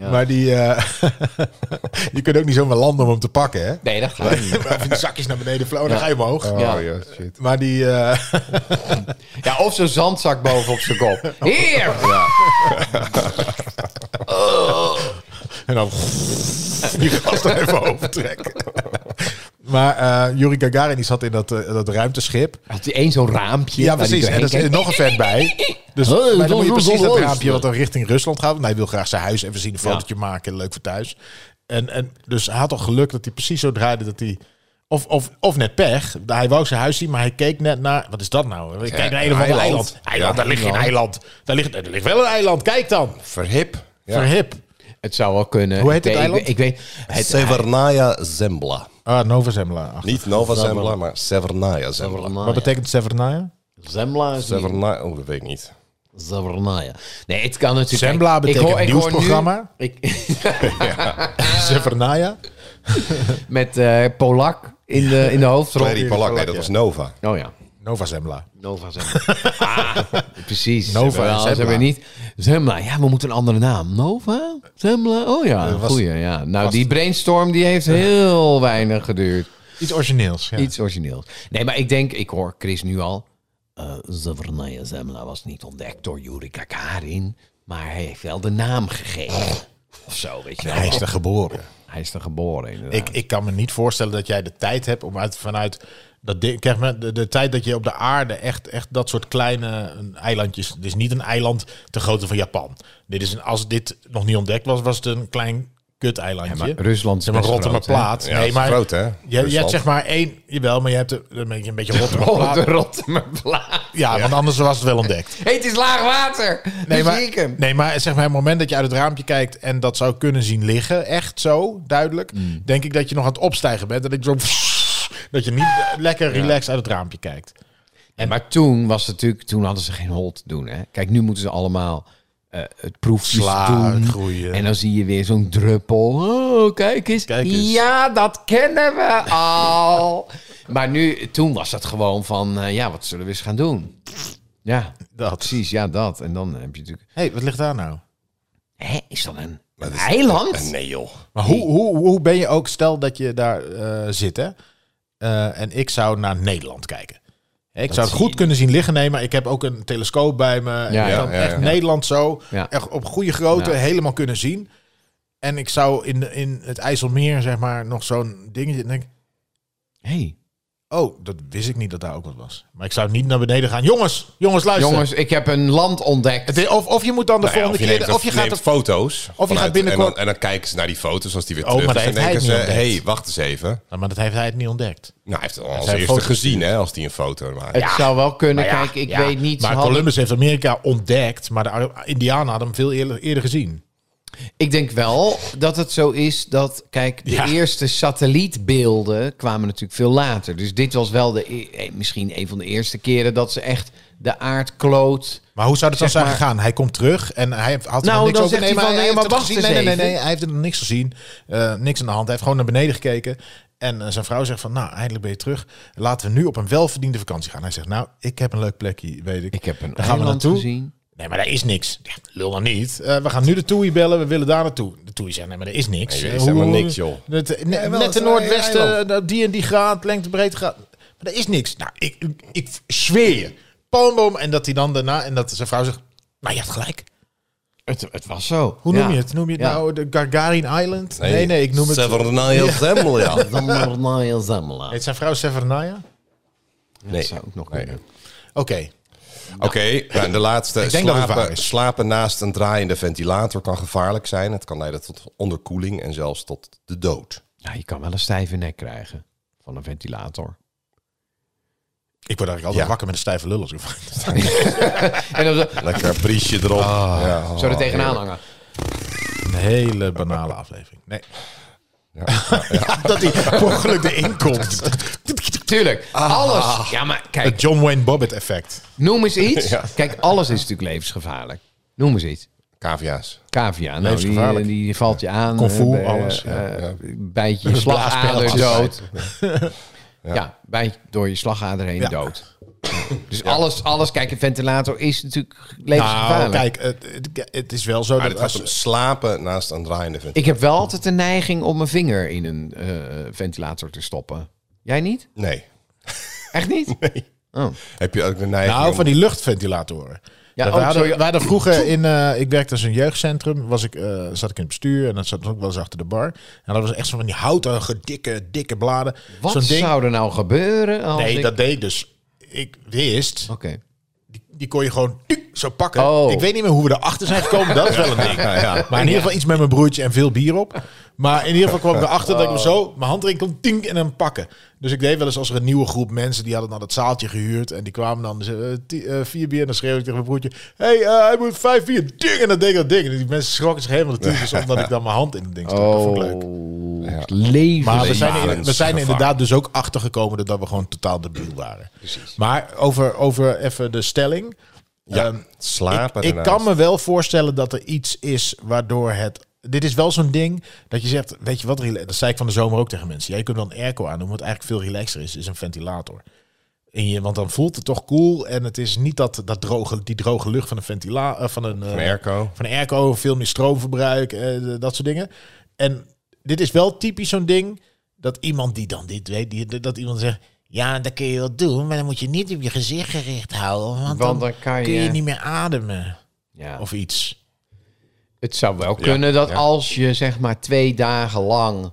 Maar die... eh, je kunt ook niet zomaar landen om hem te pakken, hè? Nee, dat gaat niet. Even die zakjes naar beneden flow, dan ga je omhoog. Ja. shit. Maar die... eh, Ja, of zo'n zandzak boven op zijn kop. Hier! Oh. en dan... die gast er even over trekken. maar eh Yuri Gagarin die zat in dat, eh, dat ruimteschip. Had hij één zo'n raampje? Ja, waar die precies. En er zit doorheen kijkt? nog een vet bij. Dus Hey, maar dan dat moet je is precies wel dat leuk. raampje wat dan richting Rusland gaat. Want hij wil graag zijn huis even zien, een fotootje maken. Leuk voor thuis. En, en, dus hij had al geluk dat hij precies zo draaide dat hij... Of, of, of net pech. Hij wou zijn huis zien, maar hij keek net naar... Wat is dat nou? Ik kijk naar een of ander eiland. eiland. Eiland, daar ligt geen eiland. Daar ligt, er ligt wel een eiland. Kijk dan. Verhip. Ja. Verhip. Het zou wel kunnen. Hoe heet ik het weet, eiland? Ik, weet, ik weet- het, Severnaya Zembla. Ah, Nova Zembla. Ach, Niet Nova Zembla, maar Severnaya Zembla. Ah, Wat betekent Severnaya? Zembla is niet- Severnaya, oh, dat weet ik niet. Zavernaya. Nee, het kan natuurlijk... Zembla Kijk, betekent ik hoor nu- nieuwsprogramma. ik, Severnaya? met eh, Polak in de, in de hoofdrol. Clary Polak, nee, dat was Nova. Oh ja. Nova Zembla. Nova Zembla. ah, precies. Nova Ze hebben wel- en ze Zembla. hebben niet. Zembla, ja, we moeten een andere naam. Nova? Zembla? Oh ja, was- goeie. Ja. Nou, die brainstorm die heeft heel weinig geduurd. Iets origineels. Ja. Iets origineels. Nee, maar ik denk, ik hoor Chris nu al. eh Zavernaya Zemla was niet ontdekt door Yuri Gagarin, maar hij heeft wel de naam gegeven. Of zo, weet je wel. Hij is er geboren. Hij is er geboren, Ik, inderdaad. ik kan me niet voorstellen dat jij de tijd hebt om uit, vanuit dat ding, kijk maar, de, de tijd dat je op de aarde echt, echt dat soort kleine eh, eilandjes. Dit is niet een eiland te grootte van Japan. Dit is een, als dit nog niet ontdekt was, was het een klein kut eilandje. maar Rusland is zeg maar best Rotterdam groot, hè? plaat. Ja, het is groot, hè? Je, je hebt Rusland. zeg maar één, jawel, maar je hebt een beetje een beetje Rotterdam Oh, de plaat. Rotterdamplaat. Ja, want anders was het wel ontdekt. Hé, het is laag water. Dus Nee, maar, maar, nee, maar zeg maar, het moment dat je uit het raampje kijkt en dat zou kunnen zien liggen, echt zo duidelijk, Mm. denk ik dat je nog aan het opstijgen bent. Dat ik zo. Dat je niet lekker relaxed uit het raampje kijkt. En maar toen was het natuurlijk, toen hadden ze geen hol te doen. Hè? Kijk, nu moeten ze allemaal eh, het proefjes Sla, doen. groeien. En dan zie je weer zo'n druppel. Oh, kijk eens. Kijk eens. Ja, dat kennen we al. maar nu, toen was het gewoon van, eh, ja, wat zullen we eens gaan doen? Ja, Dat. precies, ja, dat. En dan heb je natuurlijk, Hé, hey, wat ligt daar nou? hè, is dat een, Maar dat een is- eiland? Nee, joh. Maar hoe, hoe, hoe ben je ook, stel dat je daar eh, zit, hè? Eh, en ik zou naar Nederland kijken. Hè, Ik zou het zie goed je. kunnen zien liggen, nee, maar ik heb ook een telescoop bij me. En Ja, ik ja, kan ja, echt ja. Nederland zo, Ja. echt op goede grootte, Ja. helemaal kunnen zien. En ik zou in, de- in het IJsselmeer, zeg maar, nog zo'n dingetje... En denk, ik, hey, oh, dat wist ik niet dat daar ook wat was. Maar ik zou niet naar beneden gaan. Jongens, jongens, luister. jongens, ik heb een land ontdekt. Het is- of, of je moet dan de Nou ja, volgende keer... neemt- of je gaat neemt de- foto's. gaat vanuit- binnenkort- En dan, en dan kijken ze naar die foto's als die weer Oh, terug maar is. daar En heeft denken ze, hij het niet hé, hey, ontdekt. wacht eens even. Nou, maar dat heeft hij het niet ontdekt. Nou, hij heeft het al als zijn eerste foto's gezien, hè, als hij een foto maakt. Het zou wel kunnen. Nou ja, Kijk, ik ja. weet niet. ze Maar hadden- Columbus heeft Amerika ontdekt, maar de Ar- Indianen hadden hem veel eerder, eerder gezien. Ik denk wel dat het zo is dat, kijk, de Ja. eerste satellietbeelden kwamen natuurlijk veel later. Dus dit was wel de, e- eh, misschien een van de eerste keren dat ze echt de aardkloot. Maar hoe zou dat dan Zeg zijn maar- gegaan? Hij komt terug en hij heeft- had er Nou, nog niks dan over. zegt hij maar van, hij nee, heeft maar het wacht gezien. Nee, eens nee, nee, even. nee, hij heeft er nog niks gezien. Eh, niks aan de hand. Hij heeft gewoon naar beneden gekeken. En eh, zijn vrouw zegt van, nou, eindelijk ben je terug. Laten we nu op een welverdiende vakantie gaan. Hij zegt, nou, ik heb een leuk plekje, weet ik. Ik heb een Daar gaan we eiland naartoe. gezien. Nee, maar daar is niks. Ja, lul dan niet. Eh, we gaan nu de TUI bellen, we willen daar naartoe. De TUI zegt, nee, maar er is niks. Nee, er Eh, is hoe- helemaal niks, joh. Het, eh, Nee, wel, net het is ten een noordwesten, eiland. eh, die en die graad, lengte, breedte graad. Maar er is niks. Nou, ik, ik, ik zweer je. Palmboom. En dat hij dan daarna, en dat zijn vrouw zegt, nou, je hebt gelijk. Het, het was zo. Hoe Ja. noem je het? Noem je het Ja. nou de Gargarin Island? Nee, nee, ik noem het... Severnaya Zembla, nou ja. Zamornaya Zamla. Heet zijn vrouw Severnaya? Nee. zou ook nog kunnen. Oké. Oké, nou, en de laatste. denk dat het slapen, waar is. slapen naast een draaiende ventilator kan gevaarlijk zijn. Het kan leiden tot onderkoeling en zelfs tot de dood. Ja, je kan wel een stijve nek krijgen van een ventilator. Ik word eigenlijk altijd Ja. wakker met een stijve lul. als ik- En dan zo, Lekker briesje erop. Ah. ja. Oh, zo er tegenaan hangen. Een hele banale aflevering. Nee. dat hij per ongeluk erin komt. Tuurlijk, alles. Ja, maar kijk, Het John Wayne Bobbitt effect. noem eens iets. Kijk, alles is natuurlijk levensgevaarlijk. Noem eens iets. Cavia's. Cavia, nou, die, Levensgevaarlijk. die valt je aan. Kung fu, eh, bij- alles, eh, eh, Bijt je slagader dood. Ja, bijt door je slagader heen Ja. dood. Dus alles, alles, kijk, een ventilator is natuurlijk Nou, levensgevaarlijk. kijk, het, het, het is wel zo Maar dat het gaat om als... slapen naast een draaiende ventilator. Ik heb wel altijd de neiging om mijn vinger in een eh, ventilator te stoppen. Jij niet? Nee. Echt niet? Oh. Heb je ook een neiging Nou, om- van die luchtventilatoren. Ja, Dat oh, we, hadden, sorry. we hadden vroeger in... eh, ik werkte als een jeugdcentrum. Was ik, eh, zat ik in het bestuur en dan zat ik ook wel eens achter de bar. En dat was echt zo van die houten, dikke, dikke bladen. Wat Zo'n ding. zou er nou gebeuren als Nee, ik- dat deed ik dus. Ik wist, Oké. die die kon je gewoon tuuk, zo pakken. Oh. Ik weet niet meer hoe we erachter zijn gekomen. Dat is wel een ding. Maar in ieder geval iets met mijn broertje en veel bier op. Maar in ieder geval kwam ik erachter dat ik Oh. hem zo mijn hand erin kon tink en hem pakken. Dus ik deed wel eens als er een nieuwe groep mensen die hadden dan dat zaaltje gehuurd. En die kwamen dan dus, eh, ti- eh, vier bier. En dan schreeuwde ik tegen mijn broertje: hey, eh, hij moet vijf bier. Ding, en dan deed ik dat ding. En die mensen schrokken zich helemaal de tyfus omdat ik dan mijn hand in het ding stak. Dat vond ik leuk. Oh, het leven. Maar we zijn, levensgevaar. in- we zijn er inderdaad dus ook achtergekomen dat we gewoon totaal debiel waren. Maar over, over even de stelling. Ja, Ehm, slapen ik ernaast. kan me wel voorstellen dat er iets is waardoor het... Dit is wel zo'n ding dat je zegt, weet je wat, rela- dat zei ik van de zomer ook tegen mensen. Ja, je kunt wel een airco aandoen, wat eigenlijk veel relaxter is, is een ventilator. In je, want dan voelt het toch cool en het is niet dat, dat droge, die droge lucht van een ventilator... Van een, Een eh, airco. van airco, veel meer stroomverbruik, eh, dat soort dingen. En dit is wel typisch zo'n ding dat iemand die dan dit weet, die, dat iemand zegt: Ja, dat kun je wel doen, maar dan moet je niet op je gezicht gericht houden, want, dan, Want dan kan kun je je- niet meer ademen Ja. of iets. Het zou wel kunnen dat als je zeg maar twee dagen lang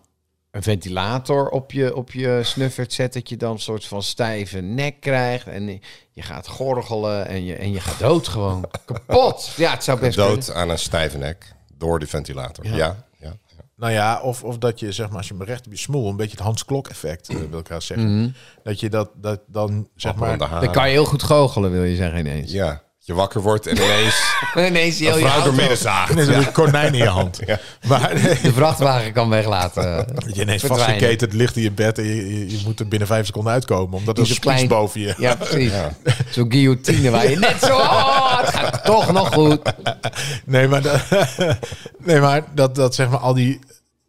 een ventilator op je, op je snuffert zet, dat je dan een soort van stijve nek krijgt en je gaat gorgelen en je, en je gaat dood gewoon. Kapot! Ja, het zou best Dood kunnen. aan een stijve nek door de ventilator. Ja, ja. ja. Nou ja, of, of dat je zeg maar als je hem recht op je smoel, een beetje het Hans Klok effect eh, wil ik graag zeggen, Mhm. dat je dat, dat dan zeg Appel aan de maar. haar. Dan kan je heel goed goochelen, wil je zeggen ineens. Ja, je wakker wordt en ineens Ineens heel een je vrouw door auto- midden zaagt. Dan is er een konijn in je hand. Maar de vrachtwagen kan weglaten. dat je ineens Verdwijnen. vastgeketend ligt in je bed en je, je, je moet er binnen vijf seconden uitkomen. Omdat er Die een klein- spies boven je. Ja, precies. Zo'n guillotine waar je net zo... Oh, het gaat toch nog goed. Nee, maar, dat, nee, maar dat, dat zeg maar al die...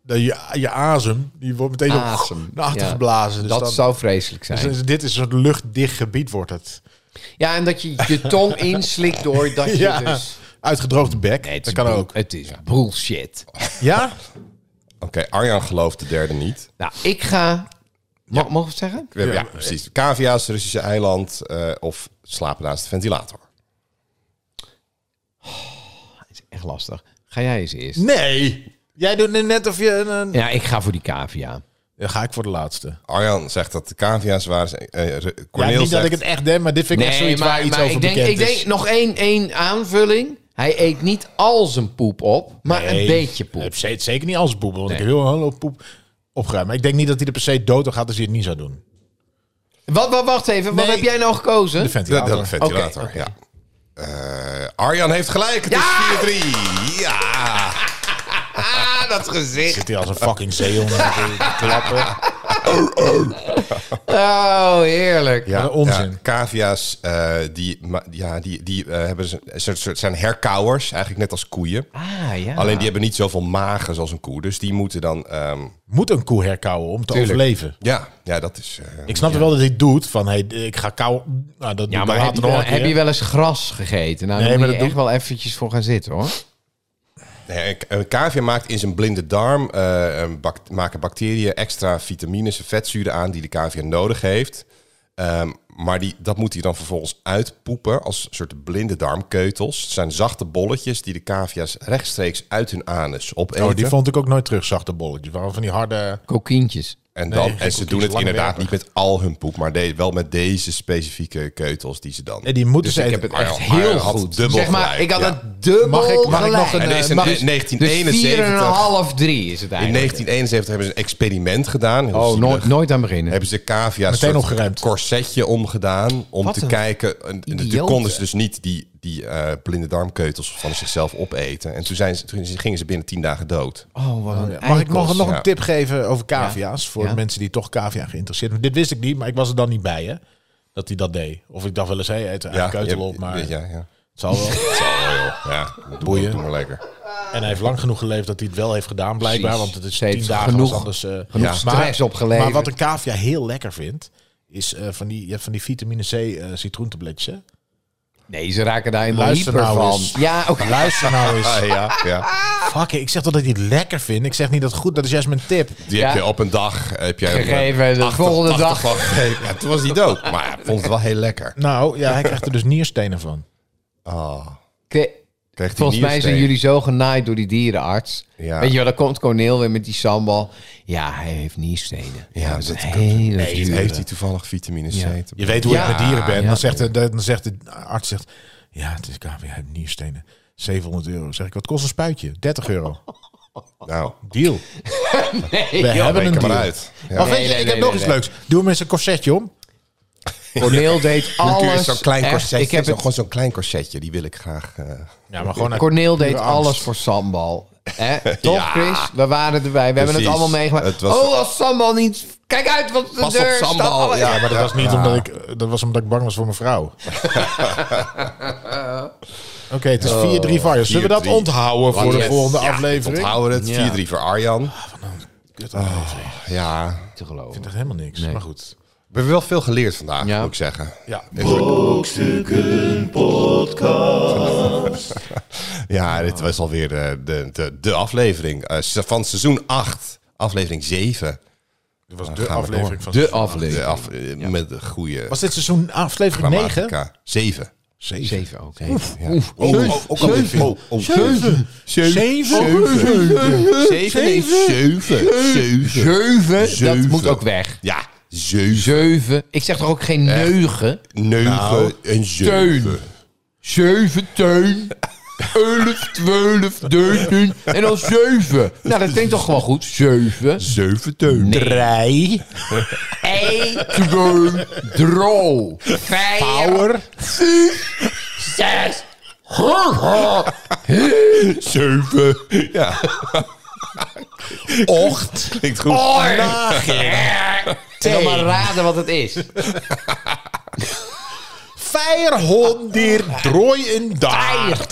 Dat je, je azem, die wordt meteen Asem, op, naar achter ja. geblazen. Dus dat dan- zou vreselijk zijn. dus dan is- dit is een soort luchtdicht gebied, wordt het. Ja, en dat je je tong inslikt door dat je Ja, dus... uitgedroogde bek. Nee, het dat is kan bull- ook. Het is bullshit. Ja? Oké, Arjan gelooft de derde niet. Nou, ik ga... Mag, mogen we het zeggen? Ja, precies. Cavia's, Russische eiland eh, of slapen naast de ventilator. Het is echt lastig. Ga jij eens eerst? Nee! Jij doet het net of je een... een- Ja, ik ga voor die cavia. Dan ga ik voor de laatste. Arjan zegt dat de cavia's waren. eh, Ru- Ja, Corneel niet zegt, dat ik het echt denk, maar dit vind ik echt Nee, zoiets maar, waar iets maar over ik, denk, bekend ik denk is. nog één, één aanvulling. Hij eet niet al zijn poep op, maar een Nee. beetje poep. Nee, ze- Zeker niet als poep, want ik Nee. heb heel een hoop poep opgeruimd. Maar ik denk niet dat hij er per se dood aan gaat als hij het niet zou doen. Wat, wat, wacht even, wat Nee. heb jij nou gekozen? De de, de, ventilator. ventilator. Ja. Eh, Arjan heeft gelijk. Het is 4-3. Ja. ah, dat gezicht. Zit hij als een fucking zeehond te klappen. Oh, heerlijk. Ja, onzin. Ja, cavia's, eh, die, ma- ja, die, die eh, hebben ze, ze- ze zijn herkauwers, eigenlijk net als koeien. Ah, ja. Alleen die hebben niet zoveel magen zoals een koe. Dus die moeten dan. ehm, Moet een koe herkauwen om te overleven. ja, ja, dat is. eh, Ik snap wel dat hij het doet, van hey, ik ga kauwen. Nou, dat doe Ja, ik maar dan heb je, later nog wel, een keer. heb je wel eens gras gegeten? Nou, Nee, daar maar moet je dat echt wel eventjes voor gaan zitten, hoor. nee, een cavia maakt in zijn blinde darm eh, een bac- maken bacteriën extra vitamines en vetzuren aan die de cavia nodig heeft. Ehm, maar die, dat moet hij dan vervolgens uitpoepen als soort blinde darmkeutels. Het zijn zachte bolletjes die de cavia's rechtstreeks uit hun anus opeten. Oh, die vond ik ook nooit terug, zachte bolletjes. Waarom van die harde... Kokientjes. En, dan, geen en ze koekjes, doen het lange inderdaad werkdag. niet met al hun poep, maar de- wel met deze specifieke keutels die ze dan. Nee, die moeten Dus ze ik heb eten. het echt Maar heel had goed. dubbel zeg maar, gelijk, ik had ja. het dubbel Mag ik- mag ik nog gelijk. een, En er is een- Mag- in 1971 Dus 4,5-3 is het In eigenlijk. 1971 hebben ze een experiment gedaan. heel Oh, zielig. nooit, nooit aan beginnen. Hebben ze cavia's Meteen soort opgeruimd. corsetje omgedaan om Wat te een kijken. En idioten. Toen konden ze dus niet die, die eh, blinde darmkeutels van zichzelf opeten. En toen, zijn ze, toen gingen ze binnen tien dagen dood. Oh, wat een Mag ik nog, eikels. nog Ja. een tip geven over cavia's? Voor Ja. mensen die toch cavia geïnteresseerd zijn. Dit wist ik niet, maar ik was er dan niet bij, hè? Dat hij dat deed. Of ik dacht wel eens, hé, hey, eet er een keutel op, maar Ja, ja. het zal wel. ja doe, Boeien. doe maar lekker. En hij heeft lang genoeg geleefd dat hij het wel heeft gedaan, blijkbaar. Precies. Want het is Ze heeft tien dagen genoeg- was anders. eh, genoeg stress opgeleverd. Maar wat een cavia heel lekker vindt, is eh, van, die, je hebt van die vitamine C eh, citroentabletjes. hè? Nee, ze raken daar helemaal Luister hyper nou van. eens. Ja, oké. Luister nou eens. Ah, ja, ja. Fuck, ik zeg toch dat ik het lekker vind. Ik zeg niet dat het goed, dat is juist mijn tip. Die Ja. heb je op een dag heb jij Gegeven, de achter- volgende achter- dag. van gegeven. Ja, toen was hij dood. Maar hij vond het wel heel lekker. Nou, ja, hij krijgt er dus nierstenen van. Ah. Kre- Krijgt hij Volgens mij zijn niersteek. jullie zo genaaid door die dierenarts. Ja. Weet je wel, dan komt Corneel weer met die sambal. Ja, hij heeft nierstenen. Ja, dat is dat een kan- hele Heeft, dure. heeft hij toevallig vitamine C? Ja. te- Je weet hoe Ja, ik met dieren ben. ja. Dan, zegt de, dan zegt de arts, zegt, ja, het is KW, hij heeft nierstenen. 700 euro. Zeg ik, wat kost een spuitje? 30 euro. Nou, Deal. Nee, We joh. hebben een reken deal. maar uit. Ja. Maar Nee, weet je, nee, ik nee, heb nog nee, iets nee. leuks. Doe hem eens een corsetje om. Corneel deed Natuurlijk alles. is zo'n klein echt, korsetje. Ik heb zo- het Gewoon zo'n klein korsetje, die wil ik graag. eh, Ja, maar gewoon Corneel deed pure angst. alles voor sambal. hè? Toch, Chris? We waren erbij. We hebben het Precies. allemaal meegemaakt. Het was- Oh, als sambal niet... Kijk uit, want de Pas op deur staat sambal, alle- ja. Ja, maar dat was niet omdat ik... Dat was omdat ik bang was voor mijn vrouw. Oké, het is 4-3 Fire. Zullen we dat 4-3. onthouden voor de yes. volgende Ja, aflevering? Onthouden het. Ja. 4-3 voor Arjan. Kut aflevering. Ja. Niet te geloven. Ik vind echt helemaal niks. Maar goed. We hebben wel veel geleerd vandaag, Ja. moet ik zeggen. Ja. Brokstukken Podcast. Ja, dit was alweer de, de, de, de aflevering eh, se- van seizoen 8, aflevering 7. Dit was we de door. aflevering van... De aflevering. De af, eh, Met de goede Was dit seizoen aflevering 9? grammatica. 7. Zeven ook. Ja. Oh, oh, ook al weer veel. Oh, Zeven. Zeven. Nee, zeven. Zeven. Zeven, Zeven. dat moet ook weg. Ja, zeven. Zeven. Ik zeg toch ook geen neugen? Neugen Nou, en zeven. Teun. Zeven, teun. Elf, twaalf, dertien. En dan zeven. Nou, dat klinkt toch gewoon goed. Zeven. Zeven teun. Drei. Ei. Twee. Dro. Vijf. Power. Zes. Zeven. Ja. Ocht. Klinkt goed. Wil maar raden wat het is. 500 drooi in dag.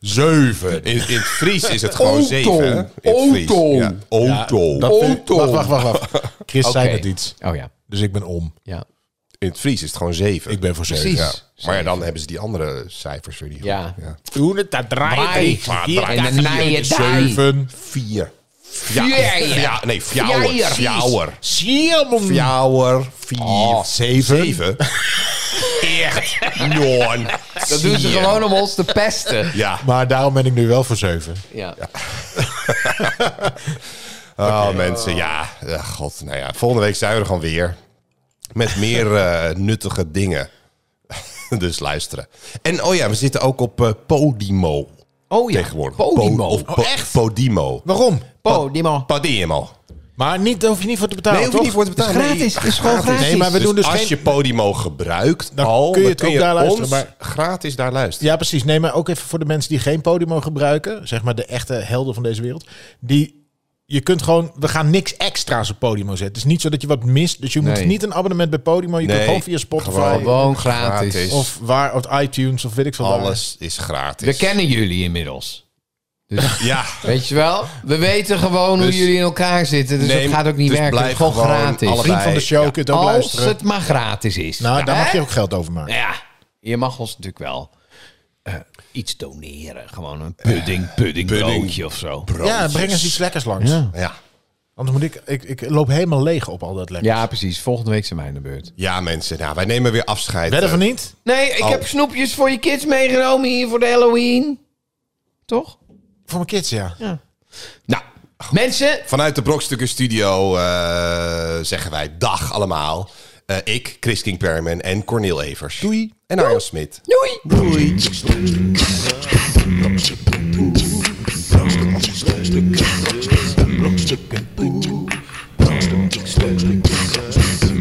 Zeven. In, in het Fries is het gewoon Auto. zeven. hè? In het Fries. Auto. Ja. Auto. Dat vind- Auto. Wacht, wacht, wacht, wacht. Chris zei Oké. net iets. Oh ja. Dus ik ben om. Ja. In het Fries is het gewoon zeven. Ik ben voor zeven. Precies. Ja. Maar ja, dan hebben ze die andere cijfers weer niet. Ja. Toen het dat Draai. En dan naai je daai. Zeven. Vier. Vier. Ja, nee, fjouwer. Vier. Fjouwer. Siermon. Fjouwer. Vier. Oh, zeven. Zeven. Echt. Noorn. Dat doen ze gewoon om ons te pesten. Ja. Maar daarom ben ik nu wel voor zeven. Ja. Oh, mensen, ja. Eh, God, nou ja. Volgende week zijn we er gewoon weer. Met meer eh, nuttige dingen. dus luisteren. En oh ja, we zitten ook op eh, Podimo. Oh ja. Tegenwoordig. Podimo. Po- of po- Podimo. Waarom? Podimo. Nou, Podimo. Maar niet, daar hoef je niet voor te betalen, Nee, hoef je toch? niet voor te betalen. Gratis. Het is gewoon gratis. Nee, maar we Dus doen dus als geen... je Podimo gebruikt, Dan al, kun je dan het kun ook je daar luisteren, ons maar- gratis daar luisteren. Ja, precies. Nee, maar ook even voor de mensen die geen Podimo gebruiken. Zeg maar de echte helden van deze wereld. Die... Je kunt gewoon, we gaan niks extra's op Podimo zetten. Het is niet zo dat je wat mist. Dus je moet Nee. niet een abonnement bij Podimo. Je Nee. kunt gewoon via Spotify. Gewoon gratis. Gratis. Of waar, op iTunes of weet ik veel. waar. Alles is gratis. We kennen jullie inmiddels. Dus Ja. weet je wel? We weten gewoon Dus- hoe jullie in elkaar zitten. Dus Nee, dat gaat ook niet dus werken. Het is blijf gewoon, gewoon gratis. allebei- Vriend van de show, Ja. kunt ook Als luisteren. het maar gratis is. Nou, daar Hè? mag je ook geld over maken. Ja, je mag ons natuurlijk wel eh, iets doneren. Gewoon een Eh, pudding, pudding, broodje of zo. Ja, breng eens iets lekkers langs. Ja. Anders moet ik, ik, ik loop helemaal leeg op al dat lekkers. Ja, precies. Volgende week zijn wij aan de beurt. ja, mensen. Nou, wij nemen weer afscheid. Wedden van Eh, niet? Nee, ik Oh. heb snoepjes voor je kids meegenomen hier voor de Halloween. Toch? Voor mijn kids, ja. Nou, mensen, Vanuit de Brokstukken Studio eh, zeggen wij dag allemaal. Eh, ik, Chris King Perman en Cornel Evers. Doei. En Arjan Smit. doei! Brokstukken Brokstukken